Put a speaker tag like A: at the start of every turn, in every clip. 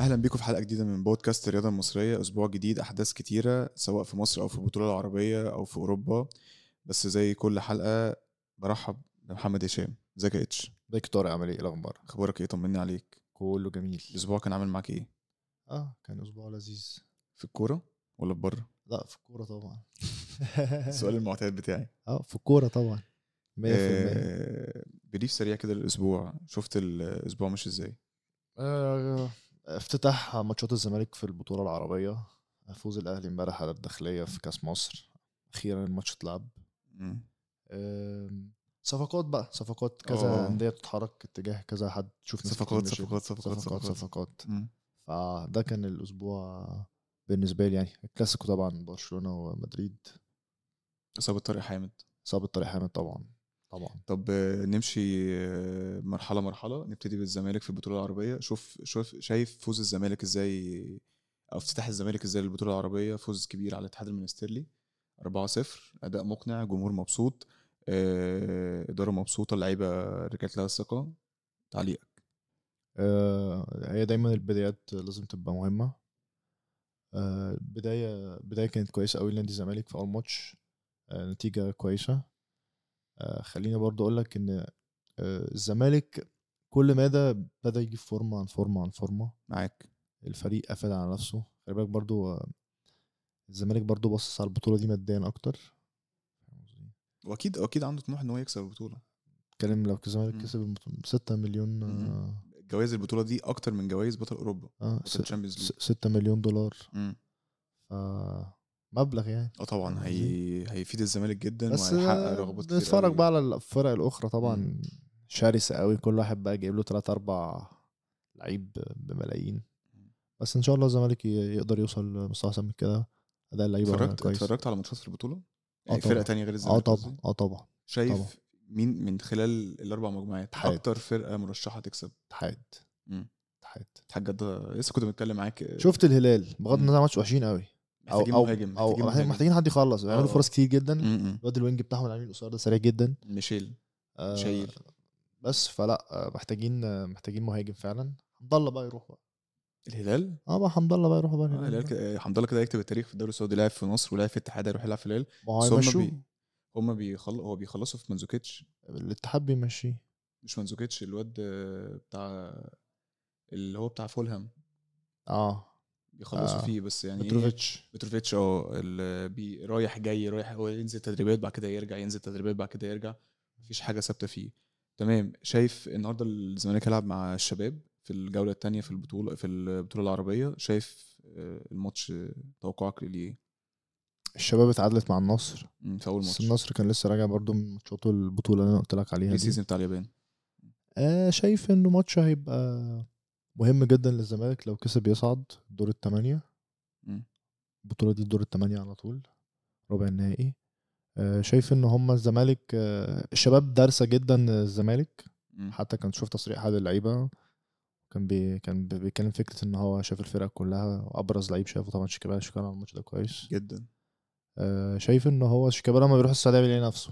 A: اهلا بيكم في حلقه جديده من بودكاست الرياضه المصريه اسبوع جديد احداث كتيره سواء في مصر او في البطوله العربيه او في اوروبا بس زي كل حلقه برحب بمحمد هشام ازيك يا اتش
B: ازيك يا طارق عامل ايه الاخبار
A: اخبارك ايه طمني عليك
B: كله جميل
A: الاسبوع كان عامل معاك ايه
B: اه كان اسبوع لذيذ
A: في الكوره ولا في بره
B: لا في الكوره طبعا
A: السؤال المعتاد بتاعي
B: اه في الكوره طبعا 100%
A: آه، بريف سريع كده للاسبوع شفت الاسبوع ماشي ازاي
B: آه، افتتاح ماتشات الزمالك في البطوله العربيه فوز الاهلي امبارح على الداخليه في كاس مصر اخيرا الماتش اتلعب
A: مم.
B: آم، صفقات بقى صفقات
A: آه.
B: كذا انديه بتتحرك اتجاه كذا حد شفنا
A: صفقات،
B: كتير مشي.
A: صفقات، صفقات،
B: صفقات
A: صفقات.
B: صفقات
A: مم.
B: فده كان الاسبوع بالنسبه لي يعني الكلاسيكو طبعا برشلونه ومدريد
A: اصابه طارق حامد
B: صعب الطريق حامد طبعا طبعا
A: طب آه، نمشي آه، مرحله مرحله نبتدي بالزمالك في البطوله العربيه شوف شوف شايف فوز الزمالك ازاي او افتتاح الزمالك ازاي للبطوله العربيه فوز كبير على الاتحاد المنستيرلي 4-0 اداء مقنع جمهور مبسوط آه، اداره مبسوطه اللعيبه رجعت لها الثقه تعليقك
B: آه، هي دايما البدايات لازم تبقى مهمة آه، البداية البداية كانت كويسة أوي لنادي الزمالك في أول ماتش آه، نتيجة كويسة آه، خليني برضو أقولك إن آه، الزمالك كل مدى ابتدى يجيب فورمة عن فورمة عن فورمة
A: معاك
B: الفريق قفل على نفسه خلي بالك برضو آه، الزمالك برضو باصص على البطولة دي ماديا أكتر
A: واكيد اكيد عنده طموح ان هو يكسب البطوله
B: اتكلم لو الزمالك
A: مم.
B: كسب البطولة ستة مليون
A: مم.
B: آه،
A: جوائز البطوله دي اكتر من جوائز بطل اوروبا
B: آه،
A: بطل الشامبيونز ليج
B: س- ستة مليون دولار
A: مم.
B: آه، مبلغ يعني
A: اه طبعا
B: فاهم
A: هي... هيفيد الزمالك جدا
B: بس
A: وهيحقق رغبات كتير
B: نتفرج
A: أوي.
B: بقى على الفرق الاخرى طبعا شرسه قوي كل واحد بقى جايب له 3 4 لعيب بملايين بس ان شاء الله الزمالك ي- يقدر يوصل لمستوى احسن من كده اداء اللعيبه
A: اتفرجت
B: إيه كويس
A: اتفرجت على ماتشات في البطوله
B: آه
A: يعني فرقه
B: طبعاً.
A: تانية غير الزمالك
B: اه طبعا
A: قصدي؟
B: اه طبعا
A: شايف
B: طبعاً.
A: مين من خلال الاربع مجموعات
B: اتحاد.
A: اكتر فرقه مرشحه تكسب
B: اتحاد
A: مم.
B: اتحاد
A: الحاج ده لسه كنت بنتكلم معاك
B: شفت الهلال بغض
A: مم.
B: النظر عن ماتش وحشين قوي او
A: محتاجين
B: او
A: مهاجم
B: او
A: محتاجين
B: محتاجين-
A: مهاجم.
B: محتاجين حد يخلص بيعملوا
A: آه.
B: فرص كتير جدا
A: مم، مم.
B: الواد الوينج بتاعهم اللي عاملين قصير ده سريع جدا
A: ميشيل
B: آه،
A: شايل
B: بس فلا آه، محتاجين آه، محتاجين مهاجم فعلا حمد الله بقى يروح بقى
A: الهلال
B: اه بقى حمد الله بقى يروح بقى
A: آه، الهلال كده- حمد الله كده هيكتب التاريخ في الدوري السعودي لاعب في مصر ولاعب في الاتحاد هيروح يلعب في الهلال
B: ما هو
A: بس هما
B: هيمشوه
A: بي- هما بيخل... هو بيخلصوا في منزوكيتش
B: الاتحاد بيمشيه
A: مش منزوكيتش الواد آه، بتاع اللي هو بتاع فولهام
B: اه
A: بيخلصوا
B: آه.
A: فيه بس يعني إيه،
B: متروفيتش
A: بتروفيتش اه ال- بي- رايح جاي رايح هو ينزل تدريبات بعد كده يرجع ينزل تدريبات بعد كده يرجع مفيش حاجه ثابته فيه تمام شايف النهارده الزمالك هيلعب مع الشباب في الجوله الثانيه في البطوله في البطوله العربيه شايف آه، الماتش آه، توقعك ليه
B: الشباب اتعادلت مع النصر
A: مم، في اول
B: بس
A: ماتش
B: النصر كان لسه راجع برضو من ماتشاته البطوله اللي انا قلت لك عليها
A: بري
B: دي
A: سيزون بتاع اليابان
B: آه شايف انه ماتش هيبقى مهم جدا للزمالك لو كسب يصعد دور الثمانيه
A: مم.
B: البطوله دي دور الثمانيه على طول ربع النهائي آه شايف ان هم الزمالك آه الشباب دارسه جدا الزمالك
A: مم.
B: حتى كنت شفت تصريح احد اللعيبه كان بي كان بي- بيتكلم فكره ان هو شاف الفرقه كلها وابرز لعيب شافه طبعا شيكابالا شيكابالا عمل الماتش ده كويس
A: جدا
B: آه، شايف ان هو شيكابالا لما بيروح السعوديه بيلاقي نفسه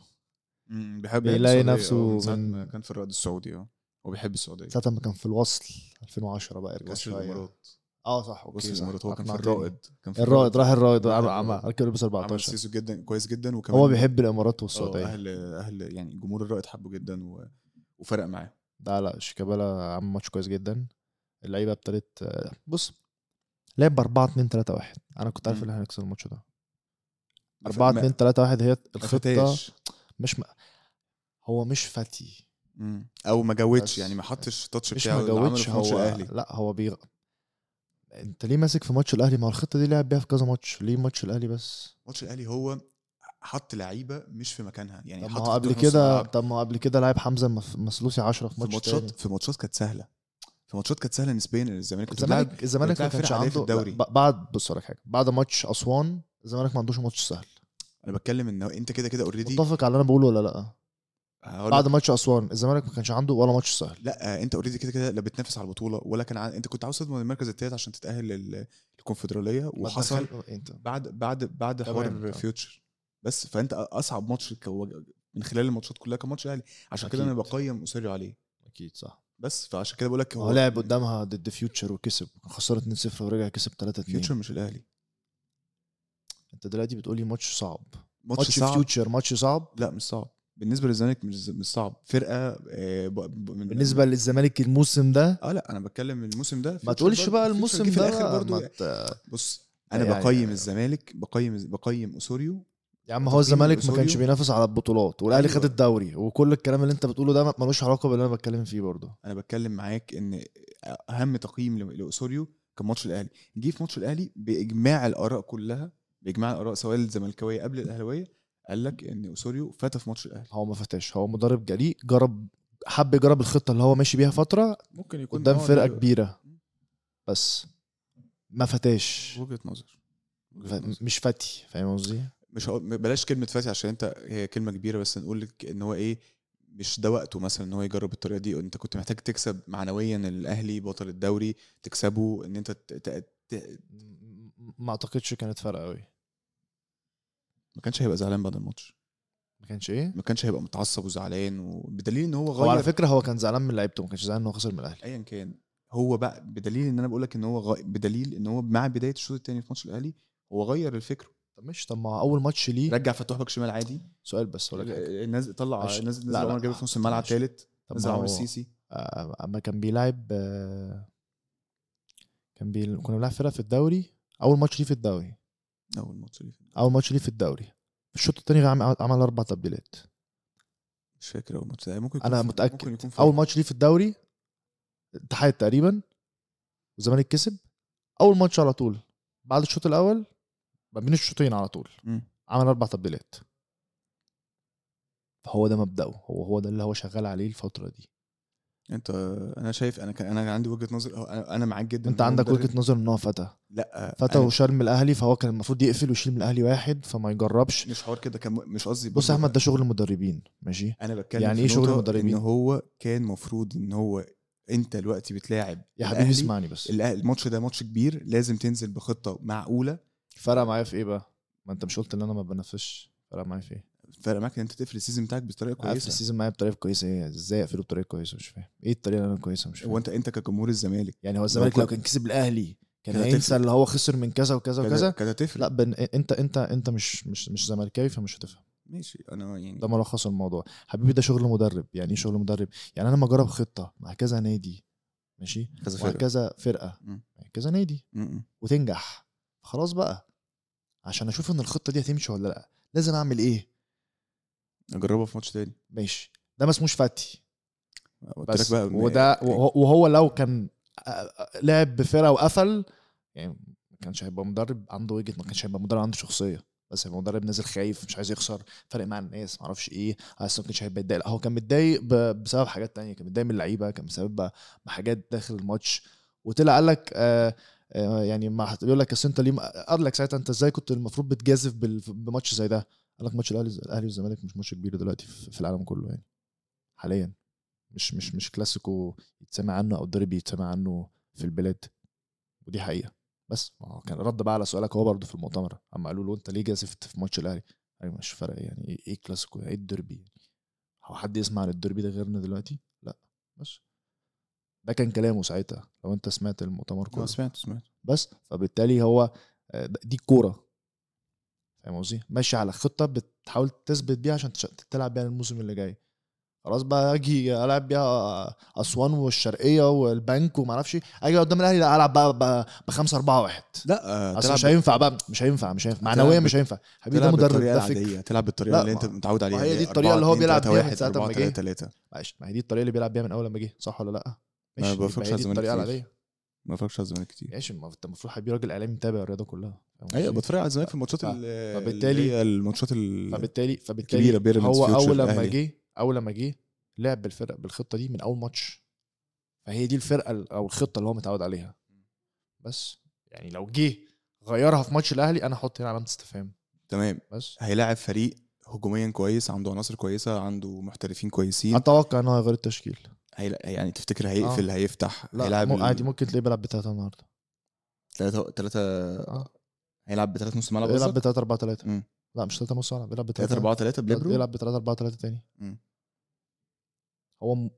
A: مم، بيحب
B: بيلاقي
A: السعودية، آه،
B: نفسه
A: من ساعه
B: من-
A: ما كان في الرائد السعودي اه هو بيحب السعوديه
B: ساعه ما كان في الوصل 2010 بقى ارجع
A: وصل
B: شويه
A: الامارات
B: اه صح اوكي
A: وصل
B: صح
A: الامارات هو كان في
B: أقنعتني.
A: الرائد كان في
B: الرائد راح الرائد
A: راح
B: عمل-
A: الرائد.
B: عمل ركب لبس
A: عمل
B: 14
A: سيزون جدا كويس جدا وكمان
B: هو بيحب أيوه. الامارات
A: اه
B: والسعوديه
A: اهل اهل يعني جمهور الرائد حبه جدا و... وفرق معاه
B: لا لا شيكابالا عمل ماتش كويس جدا اللعيبه ابتدت آه، بص لعب ب 4 2 3 1 انا كنت عارف
A: مم.
B: ان احنا هنكسب الماتش ده
A: ما-
B: 4
A: ما-
B: 2 3 1 هي
A: ما
B: الخطه
A: فتاش.
B: مش م... هو مش فاتي
A: مم. او ما جودش
B: بس-
A: يعني ما حطش التاتش
B: مش
A: بتاعه اللي عمله
B: مجودش
A: في ماتش
B: هو
A: الاهلي
B: لا هو بيغ... انت ليه ماسك في ماتش الاهلي ما هو الخطه دي لعب بيها في كذا ماتش ليه ماتش الاهلي بس
A: ماتش الاهلي هو حط لعيبه مش في مكانها يعني
B: طب
A: حط
B: ما هو قبل
A: خطوط نص
B: كده
A: الملعب.
B: طب ما هو قبل كده لعب حمزه مف- مسلوسي 10 في
A: في
B: ماتش
A: ماتشات في ماتشات كانت سهله في ماتشات كانت سهله نسبيا للزمالك كنت بتلعب
B: الزمالك الزمالك ما
A: بتلعب
B: كانش
A: فرقة عادية في
B: عنده
A: الدوري.
B: لا، ب- بعد بص لك حاجه بعد ماتش اسوان الزمالك ما عندوش ماتش سهل
A: انا بتكلم ان انت كده كده اوريدي
B: متفق على اللي انا بقوله ولا لا بعد ماتش اسوان الزمالك ما كانش عنده ولا ماتش سهل
A: لا انت اوريدي كده كده لا بتنافس على البطوله ولا كان ع... انت كنت عاوز تضمن المركز الثالث عشان تتاهل لل- للكونفدراليه
B: ما
A: وحصل
B: تدخل- انت
A: بعد بعد بعد
B: تمام،
A: حوار
B: تمام.
A: فيوتشر بس فانت اصعب ماتش كو- من خلال الماتشات كلها كان ماتش الاهلي عشان كده انا
B: أكيد.
A: بقيم اصري عليه
B: اكيد صح
A: بس فعشان كده بقول لك
B: هو لعب قدامها ضد فيوتشر وكسب كان خسران 2-0 ورجع كسب 3-2
A: فيوتشر مش الاهلي
B: انت دلوقتي بتقول لي ماتش صعب
A: ماتش
B: ماتش
A: صعب
B: فيوتشر ماتش صعب
A: لا مش صعب بالنسبه للزمالك مش مش صعب فرقه آه، ب- ب- من-
B: بالنسبه للزمالك الموسم ده
A: اه لا انا بتكلم الموسم ده
B: ما
A: فيوتشر
B: تقولش
A: برضه-
B: بقى
A: فيوتشر
B: الموسم
A: جه في
B: ده
A: الاخر
B: بقى،
A: برضه
B: ما ت-
A: بص
B: يعني-
A: انا بقيم
B: يعني-
A: الزمالك بقيم بقيم اسوريو
B: يا عم
A: تقييم
B: هو الزمالك ما كانش
A: الأسوريو.
B: بينافس على البطولات والاهلي
A: أيوة.
B: خد الدوري وكل الكلام اللي انت بتقوله ده ما- ملوش علاقه باللي انا بتكلم فيه برضه
A: انا بتكلم معاك ان اهم تقييم ل- لاسوريو كان ماتش الاهلي جه في ماتش الاهلي باجماع الاراء كلها باجماع الاراء سواء الزملكاويه قبل الاهلاويه قال لك ان اسوريو فات في ماتش الاهلي
B: هو ما فتاش هو مدرب جريء جرب حب يجرب الخطه اللي هو ماشي بيها فتره
A: ممكن يكون
B: قدام
A: آه،
B: فرقه
A: ده
B: كبيره بس ما فتاش
A: وجهه نظر وجهة
B: ف-
A: نظر.
B: مش فاتي فاهم قصدي؟
A: مش هقول بلاش كلمه فاتي عشان انت هي كلمه كبيره بس نقول لك ان هو ايه مش ده وقته مثلا ان هو يجرب الطريقه دي انت كنت محتاج تكسب معنويا الاهلي بطل الدوري تكسبه ان انت ت- ت- ت-
B: م- ما اعتقدش كانت فارقه قوي
A: ما كانش هيبقى زعلان بعد الماتش
B: ما كانش ايه؟
A: ما كانش هيبقى متعصب وزعلان وبدليل ان هو
B: هو على
A: غير
B: فكره هو كان زعلان من لعيبته ما كانش زعلان ان هو خسر من الاهلي
A: ايا كان هو بقى بدليل ان انا بقول لك ان هو غ... بدليل ان هو مع بدايه الشوط الثاني في ماتش الاهلي هو غير الفكره
B: طب مش طب ما اول ماتش ليه
A: رجع فتوح باك شمال عادي آه،
B: سؤال بس ولا حاجه
A: نزل طلع
B: ماشي.
A: نزل نزل
B: لا، لا.
A: عمر جابر في نص الملعب
B: ماشي.
A: ثالث
B: طب
A: نزل
B: ما
A: عمر
B: هو-
A: السيسي
B: آه، اما كان بيلعب آه، كان بي... كنا بنلعب فرقه في الدوري اول ماتش ليه في الدوري
A: اول ماتش ليه.
B: اول ماتش ليه في الدوري في الشوط الثاني عمل عمل اربع تبديلات
A: مش فاكر اول ماتش ده. ممكن يكون
B: انا
A: في-
B: متاكد
A: ممكن يكون في
B: اول ماتش ليه في الدوري اتحاد تقريبا والزمالك كسب اول ماتش على طول بعد الشوط الاول ما بين الشوطين على طول
A: مم.
B: عمل اربع تبديلات فهو ده مبدأه هو هو ده اللي هو شغال عليه الفتره دي
A: انت انا شايف انا كان انا عندي وجهه نظر أه، انا انا معاك جدا
B: انت
A: إن هو
B: عندك
A: مدرب- أيوة.
B: وجهه نظر ان هو فتى
A: لا آه،
B: فتى
A: أنا
B: وشال من الاهلي فهو كان المفروض يقفل ويشيل من الاهلي واحد فما يجربش
A: مش حوار كده كان مش قصدي
B: بص
A: برضه-
B: يا احمد ده شغل المدربين ماشي
A: انا بتكلم
B: يعني
A: في
B: إيه شغل
A: نقطة
B: المدربين؟
A: ان هو كان مفروض ان هو انت دلوقتي بتلاعب
B: يا حبيبي
A: الأهلي.
B: اسمعني بس
A: الأه- الماتش ده ماتش كبير لازم تنزل بخطه معقوله
B: فرق معايا في ايه بقى ما انت مش قلت ان انا ما بنافسش فرق معايا في ايه
A: فرق معاك ان انت تقفل السيزون بتاعك بطريقه
B: قفل
A: كويسه
B: السيزون معايا بطريقه كويسه ايه ازاي اقفله بطريقه كويسه مش فاهم ايه الطريقه اللي انا كويسه مش
A: هو
B: فاهم
A: انت انت كجمهور الزمالك
B: يعني هو الزمالك
A: كنت-
B: لو كان كسب الاهلي كان
A: كانت
B: هينسى
A: هتفرق.
B: اللي هو خسر من كذا وكذا
A: كانت-
B: وكذا
A: كانت هتفرق
B: لا بن... انت انت انت مش مش مش زملكاوي فمش هتفهم
A: ماشي انا يعني
B: ده ملخص الموضوع حبيبي ده شغل مدرب يعني ايه شغل مدرب يعني انا لما اجرب خطه مع كذا نادي ماشي
A: كذا فرقة.
B: وكذا فرقه
A: مم.
B: كذا نادي
A: م-م.
B: وتنجح خلاص بقى عشان اشوف ان الخطه دي هتمشي ولا لا لازم اعمل ايه
A: اجربها في ماتش تاني
B: ماشي ده ما اسموش فتي
A: قلت لك
B: بس
A: بقى إن- إيه.
B: وده وهو وهو لو كان آه، لعب بفرقه وقفل يعني ما كانش هيبقى مدرب عنده وجهه ما كانش هيبقى مدرب عنده شخصيه بس هيبقى مدرب نازل خايف مش عايز يخسر فارق مع الناس ما اعرفش ايه بس ما كانش هيبقى يتضايق لا، هو كان متضايق ب- بسبب حاجات تانية كان متضايق من اللعيبه كان بسبب بحاجات داخل الماتش وطلع قال لك آه آه يعني ما بيقول لك اصل انت ليه ما- قال لك ساعتها انت ازاي كنت المفروض بتجازف بال- بماتش زي ده قال لك ماتش الاهلي الاهلي والزمالك مش ماتش كبير دلوقتي في في العالم كله يعني حاليا مش مش مش كلاسيكو يتسمع عنه او ديربي يتسمع عنه في البلاد ودي حقيقه بس ما هو كان رد بقى على سؤالك هو برضه في المؤتمر اما قالوا له انت ليه جازفت في ماتش الاهلي ايوه مش فارق يعني ايه ايه كلاسيكو ايه الديربي هو حد يسمع عن الديربي ده غيرنا دلوقتي لا بس ده كان كلامه ساعتها لو انت سمعت المؤتمر
A: آه،
B: كله
A: سمعت سمعت
B: بس فبالتالي هو آه، د- دي الكوره فاهم قصدي ماشي على خطه بتحاول تثبت بيها عشان تش- تلعب بيها الموسم اللي جاي خلاص بقى اجي العب بيها اسوان والشرقيه والبنك وما اعرفش اجي قدام الاهلي لا العب بقى, بقى بخمسه اربعه واحد
A: لا آه،
B: اصل
A: تلعب
B: مش هينفع بقى مش هينفع مش هينفع معنويا
A: تلعب
B: مش هينفع حبيبي ده
A: تلعب
B: مدرب
A: بالطريقة
B: ده فكر
A: العادية تلعب بالطريقة
B: لا،
A: اللي انت
B: ما-
A: متعود عليها
B: ما هي
A: اللي
B: دي
A: أربعة،
B: الطريقة اللي هو
A: اتنين،
B: بيلعب
A: تلاتة،
B: بيها من
A: واحد،
B: ساعة
A: أربعة،
B: ما جه.
A: تلاتة، تلاتة.
B: معلش ما هي دي الطريقه اللي بيلعب بيها من اول ما جه صح ولا لا ماشي يبقى
A: بفرجش على
B: هي دي
A: الزمالك
B: الطريقه
A: كتير.
B: العاديه
A: ما بتفرجش على الزمالك كتير
B: ماشي ما هو انت المفروض حبيبي راجل اعلامي متابع الرياضه كلها فاهم
A: ايوه
B: قصدي؟
A: بتفرج على الزمالك في الماتشات
B: ف-
A: ال-
B: فبالتالي-
A: اللي هي الماتشات ال-
B: فبالتالي
A: كبيرة،
B: فبالتالي
A: بيراميدز،
B: هو
A: فيوتشر،
B: اول لما
A: الأهلي.
B: جه اول لما جه لعب بالفرق بالخطه دي من اول ماتش فهي دي الفرقه ال- او الخطه اللي هو متعود عليها بس يعني لو جه غيرها في ماتش الاهلي انا احط هنا علامه استفهام
A: تمام
B: بس
A: هيلاعب فريق هجوميا كويس عنده عناصر كويسه عنده محترفين كويسين
B: اتوقع ان هو هيغير التشكيل
A: هيلا... يعني تفتكر هيقفل هيفتح
B: آه. لا
A: هيلاعب
B: مو عادي ممكن تلاقيه بيلعب بثلاثه النهارده
A: ثلاثة ثلاثة
B: اه
A: هيلعب بثلاث نص ملعب
B: بيلعب
A: قصدك؟
B: بثلاثه 4 3
A: مم.
B: لا مش 3 نص ملعب بيلعب بثلاثه
A: 3 4 3 بليبرو
B: بيلعب بثلاثه 4 3 تاني
A: مم.
B: هو م-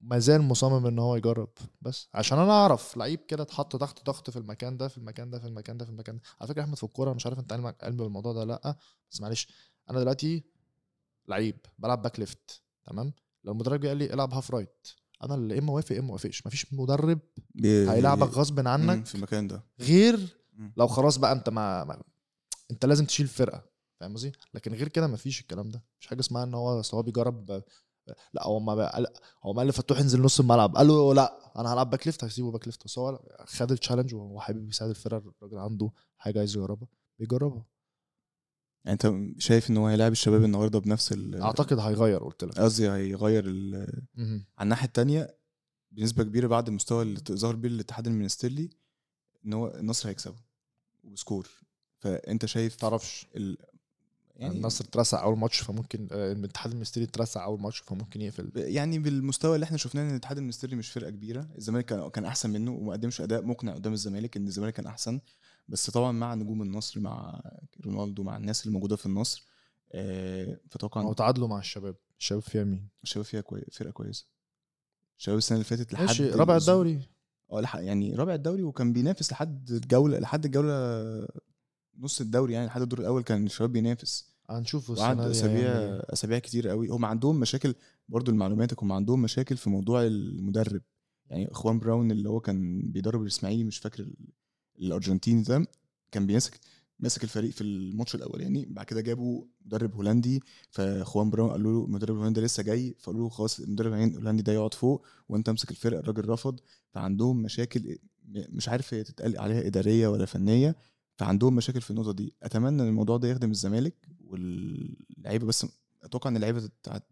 B: ما زال مصمم ان هو يجرب بس عشان انا اعرف لعيب كده اتحط تحت ضغط في المكان ده في المكان ده في المكان ده في المكان ده على فكره يا احمد في الكوره مش عارف انت علمك قلب الموضوع ده لا بس معلش انا دلوقتي لعيب بلعب باك ليفت تمام لو المدرب جه قال لي العب هاف رايت انا اللي اما وافق اما وافقش مفيش مدرب
A: بي-
B: هيلعبك غصب
A: إيه، مم،
B: عنك
A: في المكان ده
B: غير
A: مم.
B: لو خلاص بقى انت ما, ما انت لازم تشيل فرقه فاهم قصدي لكن غير كده مفيش الكلام ده مش حاجه اسمها ان هو اصل هو بيجرب لا هو ما بقى... قال- هو ما قال لفتوح انزل نص الملعب قال له لا انا هلعب باك ليفت هسيبه باك ليفت بس هو خد التشالنج وهو حابب يساعد الفرقه الراجل عنده حاجه عايز يجربها بيجربها
A: يعني انت شايف ان هو هيلاعب الشباب النهارده بنفس ال-
B: اعتقد هيغير قلت لك
A: قصدي هيغير ال...
B: مهم.
A: على الناحيه الثانيه بنسبه كبيره بعد المستوى اللي ظهر بيه الاتحاد المنستيرلي ان هو النصر هيكسبه وسكور فانت شايف
B: تعرفش
A: ال...
B: يعني
A: يعني
B: النصر اترسع اول ماتش فممكن آه، الاتحاد المستري اترسع اول ماتش فممكن يقفل
A: ب- يعني بالمستوى اللي احنا شفناه ان الاتحاد المنستيري مش فرقه كبيره الزمالك كان كان احسن منه وما قدمش اداء مقنع قدام الزمالك ان الزمالك كان احسن بس طبعا مع نجوم النصر مع رونالدو مع الناس اللي موجوده في النصر آه،
B: هو
A: فطبعا
B: تعادلوا مع الشباب الشباب فيها مين؟
A: الشباب فيها كوي... فرقه كويسه الشباب السنه اللي فاتت لحد
B: ماشي رابع
A: الأسبوع-
B: الدوري
A: اه لحق يعني رابع الدوري وكان بينافس لحد الجوله لحد الجوله نص الدوري يعني لحد الدور الاول كان الشباب بينافس
B: هنشوف
A: وقعد
B: السنة دي
A: اسابيع
B: هيعمل إيه.
A: اسابيع كتير قوي هم عندهم مشاكل برضو لمعلوماتك هم عندهم مشاكل في موضوع المدرب يعني اخوان براون اللي هو كان بيدرب الاسماعيلي مش فاكر ال- الارجنتيني ده كان بيمسك ماسك الفريق في الماتش الاولاني بعد كده جابوا مدرب هولندي فاخوان براون قالوا له المدرب الهولندي لسه جاي فقالوا له خلاص المدرب الهولندي ده يقعد فوق وانت امسك الفرقه الراجل رفض فعندهم مشاكل مش عارف هي تتقال عليها اداريه ولا فنيه فعندهم مشاكل في النقطه دي اتمنى ان الموضوع ده يخدم الزمالك واللعيبه بس اتوقع ان اللعيبه تت-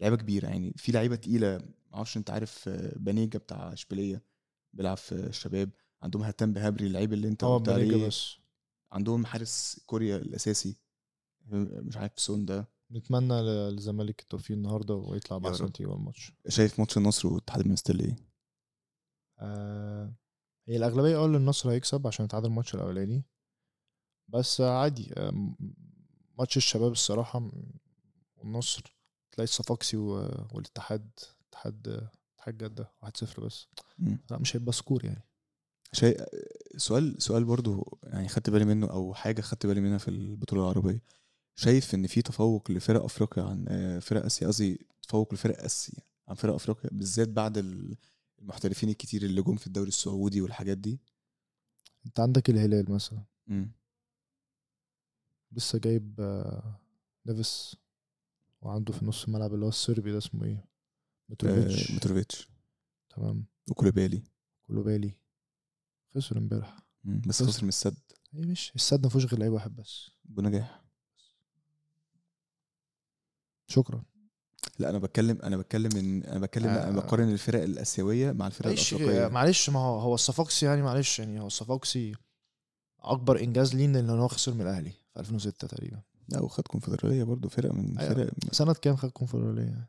A: لعيبه كبيره يعني في لعيبه تقيله معرفش انت عارف آه، بانيجا بتاع اشبيليه بيلعب في الشباب عندهم هتان بهبري اللعيب اللي انت
B: هو
A: قلت
B: بنرجع
A: عليه
B: بس
A: عندهم حارس كوريا الاساسي مش عارف سون ده
B: نتمنى للزمالك التوفيق النهارده ويطلع
A: يا
B: بأحسن
A: رب.
B: نتيجة الماتش
A: شايف ماتش النصر والاتحاد المنستيري ايه؟
B: آه، هي الأغلبية قالوا إن النصر هيكسب عشان يتعادل الماتش الأولاني بس آه، عادي آه، م- ماتش الشباب الصراحة م- والنصر تلاقي الصفاقسي و- والاتحاد اتحاد اتحاد جدة 1-0 بس
A: مم.
B: لا مش هيبقى سكور يعني
A: شيء سؤال سؤال برضو يعني خدت بالي منه او حاجه خدت بالي منها في البطوله العربيه شايف ان في تفوق لفرق افريقيا عن آه، فرق اسيا قصدي تفوق لفرق اسيا عن فرق افريقيا بالذات بعد ال- المحترفين الكتير اللي جم في الدوري السعودي والحاجات دي
B: انت عندك الهلال مثلا
A: مم.
B: لسه جايب آه، نيفيس وعنده في نص الملعب اللي هو الصربي ده اسمه ايه؟ متروفيتش
A: آه، متروفيتش
B: تمام
A: وكولوبالي
B: كولوبالي خسر امبارح
A: مم. بس
B: بس-
A: خسر من السد
B: ايه مش السد ما فيهوش غير لعيب واحد بس
A: بنجاح
B: شكرا
A: لا انا بتكلم انا بتكلم ان انا بتكلم
B: آه.
A: انا بقارن الفرق الاسيويه مع الفرق
B: معلش
A: الافريقيه
B: معلش ما هو هو الصفاقسي يعني معلش يعني هو الصفاقسي اكبر انجاز ليه ان هو خسر من الاهلي في 2006 تقريبا
A: لا وخد كونفدراليه برضو فرقه من
B: أيوة.
A: فرق
B: سنه كام خد كونفدراليه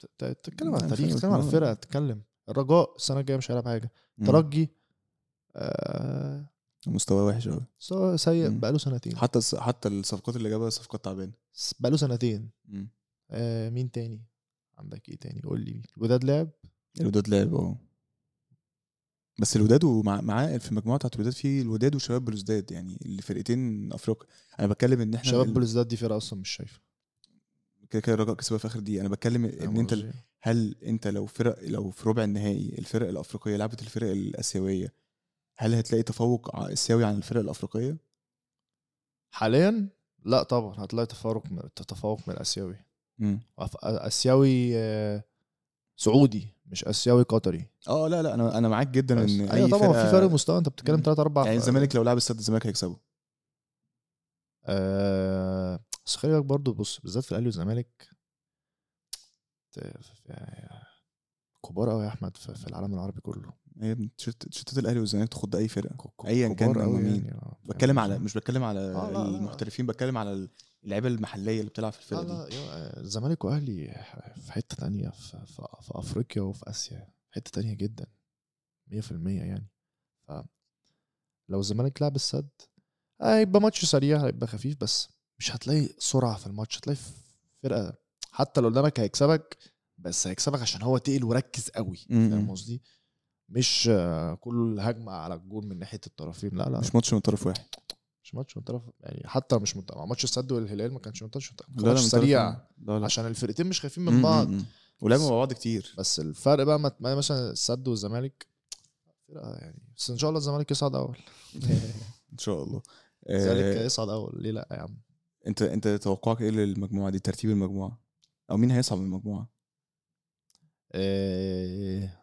B: ت- ت- تتكلم عن التاريخ تتكلم عن
A: 2012.
B: الفرقه تتكلم الرجاء السنه الجايه مش هيلعب حاجه
A: مم.
B: ترجي آه
A: مستواه وحش قوي
B: سواء سيء
A: مم.
B: بقاله سنتين
A: حتى الس- حتى الصفقات اللي جابها صفقات تعبانه
B: س- بقاله سنتين
A: مم.
B: آه مين تاني عندك ايه تاني قول لي مين الوداد لعب
A: الوداد لعب اه بس الوداد ومع معاه في المجموعه بتاعت الوداد في الوداد وشباب بلوزداد يعني اللي فرقتين افريقيا انا بتكلم ان احنا
B: شباب
A: ال-
B: بلوزداد دي فرقه اصلا مش شايفه
A: كده كده الرجاء كسبها في اخر دقيقه انا بتكلم ان انت
B: فاهم قصدي؟
A: هل انت لو فرق لو في ربع النهائي الفرق الافريقيه لعبت الفرق الاسيويه هل هتلاقي تفوق ع- اسيوي عن الفرق الافريقيه؟
B: حاليا لا طبعا هتلاقي تفوق من تفوق من الاسيوي
A: مم.
B: أف- اسيوي آه، سعودي مش اسيوي قطري
A: اه لا لا انا انا معاك جدا
B: بس.
A: ان
B: ايوه
A: أي
B: طبعا
A: فرقة-
B: في فرق مستوى انت بتتكلم
A: مم.
B: 3 4
A: يعني الزمالك لو لعب استاد الزمالك هيكسبه
B: آه بس خلي بالك برضه بص بالذات في الاهلي والزمالك ت- يعني كبار قوي يا احمد في في العالم العربي كله
A: هي تيشيرت- تيشيرتات الاهلي والزمالك تخض اي فرقه
B: ك- ك-
A: أياً كان
B: كبار
A: هم
B: أوي
A: مين.
B: يعني، آه، فاهم
A: بتكلم
B: قصدي؟ آه،
A: على مش بتكلم على
B: لا، لا، لا.
A: المحترفين بتكلم على اللعيبه المحليه اللي بتلعب في
B: لا
A: الفرقه دي
B: لا يا- آه، الزمالك واهلي في حته تانية في, في, في افريقيا وفي اسيا في حته تانية جدا 100% يعني ف لو الزمالك لعب السد هيبقى ماتش سريع هيبقى خفيف بس مش هتلاقي سرعه في الماتش هتلاقي فرقه حتى لو قدامك هيكسبك بس هيكسبك عشان هو تقل وركز قوي
A: م-
B: فاهم
A: م.
B: قصدي مش آه، كل الهجمه على الجول من ناحيه الطرفين لا لا
A: مش ماتش من طرف واحد
B: مش ماتش من طرف يعني حتى مش من مع ماتش السد والهلال ما كانش من طرف
A: لا يعني.
B: كان
A: لا
B: ماتش
A: من طرف
B: سريع
A: واحد. لا لا
B: عشان الفرقتين مش خايفين
A: م-
B: من
A: م-
B: بعض
A: م. ولعبوا مع بعض كتير
B: بس الفرق بقى مت- مثلا السد والزمالك فرقة يعني بس ان شاء الله الزمالك يصعد اول
A: ان شاء الله
B: الزمالك
A: آه
B: يصعد اول ليه لا يا عم
A: انت انت توقعك ايه للمجموعه دي ترتيب المجموعه او مين هيصعد من المجموعه
B: آه،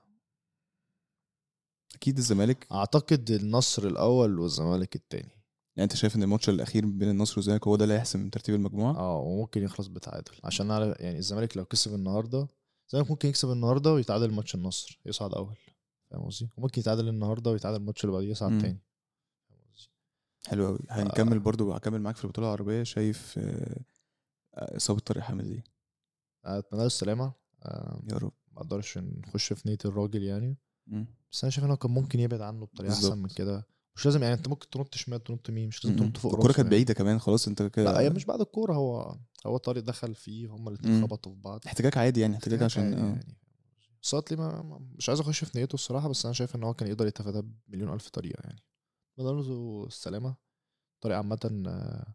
A: اكيد الزمالك
B: اعتقد النصر الاول والزمالك الثاني
A: يعني انت شايف ان الماتش الاخير بين النصر والزمالك هو ده اللي هيحسم ترتيب المجموعه
B: اه وممكن يخلص بتعادل عشان نعرف يعني الزمالك لو كسب النهارده الزمالك ممكن يكسب النهارده ويتعادل ماتش النصر يصعد اول فاهم قصدي وممكن يتعادل النهارده ويتعادل الماتش اللي بعديه يصعد
A: مم.
B: تاني فاهم قصدي؟
A: حلو قوي
B: آه.
A: هنكمل برضو هكمل معاك في البطوله العربيه شايف آه، آه، اصابه طارق حامد دي
B: اتمنى له السلامه آه،
A: يا رب
B: ما اقدرش نخش في نيه الراجل يعني
A: مم.
B: بس انا شايف ان هو كان ممكن يبعد عنه بطريقه احسن من
A: بالظبط.
B: كده مش لازم يعني انت ممكن تنط شمال تنط يمين مش لازم
A: مم.
B: تنط فوق
A: الكوره
B: راسه
A: كانت
B: يعني.
A: بعيده كمان خلاص انت
B: لا هي
A: كده
B: مش بعد الكوره هو هو طارق دخل فيه هما الاثنين
A: مم.
B: خبطوا في بعض
A: احتجاج عادي يعني احتجاج عشان
B: عادي
A: آه.
B: يعني صوت لي ما ما- مش عايز اخش في نيته الصراحه بس انا شايف ان هو كان يقدر يتفادى بمليون الف طريقه يعني اتمنى له السلامه طارق عامه آه،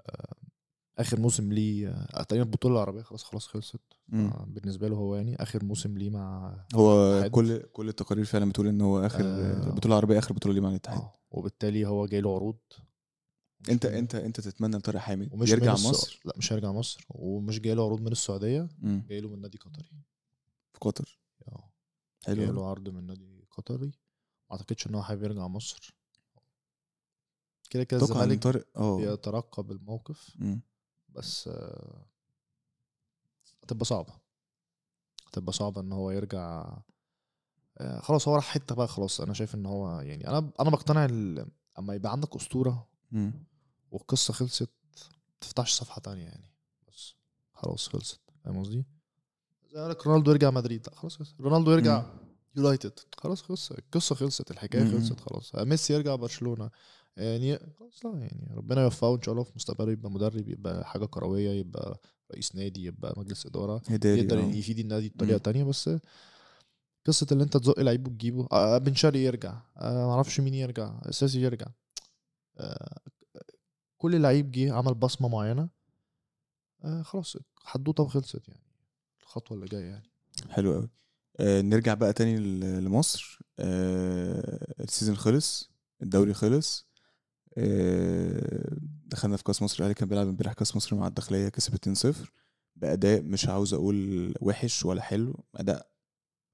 B: آه، اخر موسم ليه آه، تقريبا البطوله العربيه خلاص خلاص خلصت
A: مم.
B: آه، بالنسبه له هو يعني اخر موسم ليه مع
A: هو
B: حد.
A: كل كل التقارير فعلا بتقول ان هو اخر
B: آه.
A: آه. بطوله عربيه اخر بطوله ليه مع الاتحاد
B: آه، وبالتالي هو جاي له عروض مش
A: انت
B: من-
A: انت انت تتمنى لطارق حامد
B: ومش
A: يرجع
B: من الس-
A: مصر
B: لا مش هيرجع مصر ومش جاي له عروض من السعوديه
A: مم.
B: جاي له من نادي قطري
A: في قطر
B: اه
A: حلو
B: جاي
A: أوي.
B: له عرض من نادي قطري ما اعتقدش ان هو حابب يرجع مصر كده كده
A: اتوقع ان
B: الزمالك
A: طارق اه
B: بيترقب الموقف
A: مم.
B: بس آه، هتبقى صعبه هتبقى صعبه ان هو يرجع آه، خلاص هو راح حته بقى خلاص انا شايف ان هو يعني انا انا بقتنع ال- اما يبقى عندك اسطوره
A: مم.
B: والقصه خلصت ما تفتحش صفحه تانية يعني بس خلاص خلصت فاهم قصدي؟ زي لك رونالدو يرجع مدريد لا خلاص خلصت رونالدو يرجع
A: مم.
B: يونايتد خلاص خلصت القصه خلصت الحكايه
A: مم.
B: خلصت خلاص آه، ميسي يرجع برشلونه يعني خلاص لا يعني ربنا يوفقه ان شاء الله في مستقبله يبقى مدرب يبقى حاجه كرويه يبقى رئيس نادي يبقى مجلس اداره
A: هداري
B: يقدر
A: آه.
B: يفيد النادي بطريقه
A: مم.
B: تانية بس قصه اللي انت تزق لعيب وتجيبه آه بن شرقي يرجع آه معرفش مين يرجع اساسي يرجع آه كل لعيب جه عمل بصمه معينه آه خلاص حدوته وخلصت يعني الخطوه اللي جايه يعني
A: حلو قوي آه نرجع بقى تاني ل- لمصر آه السيزون خلص الدوري خلص آه دخلنا في كاس مصر الاهلي كان بيلعب امبارح كاس مصر مع الداخليه كسب 2-0 باداء مش عاوز اقول وحش ولا حلو اداء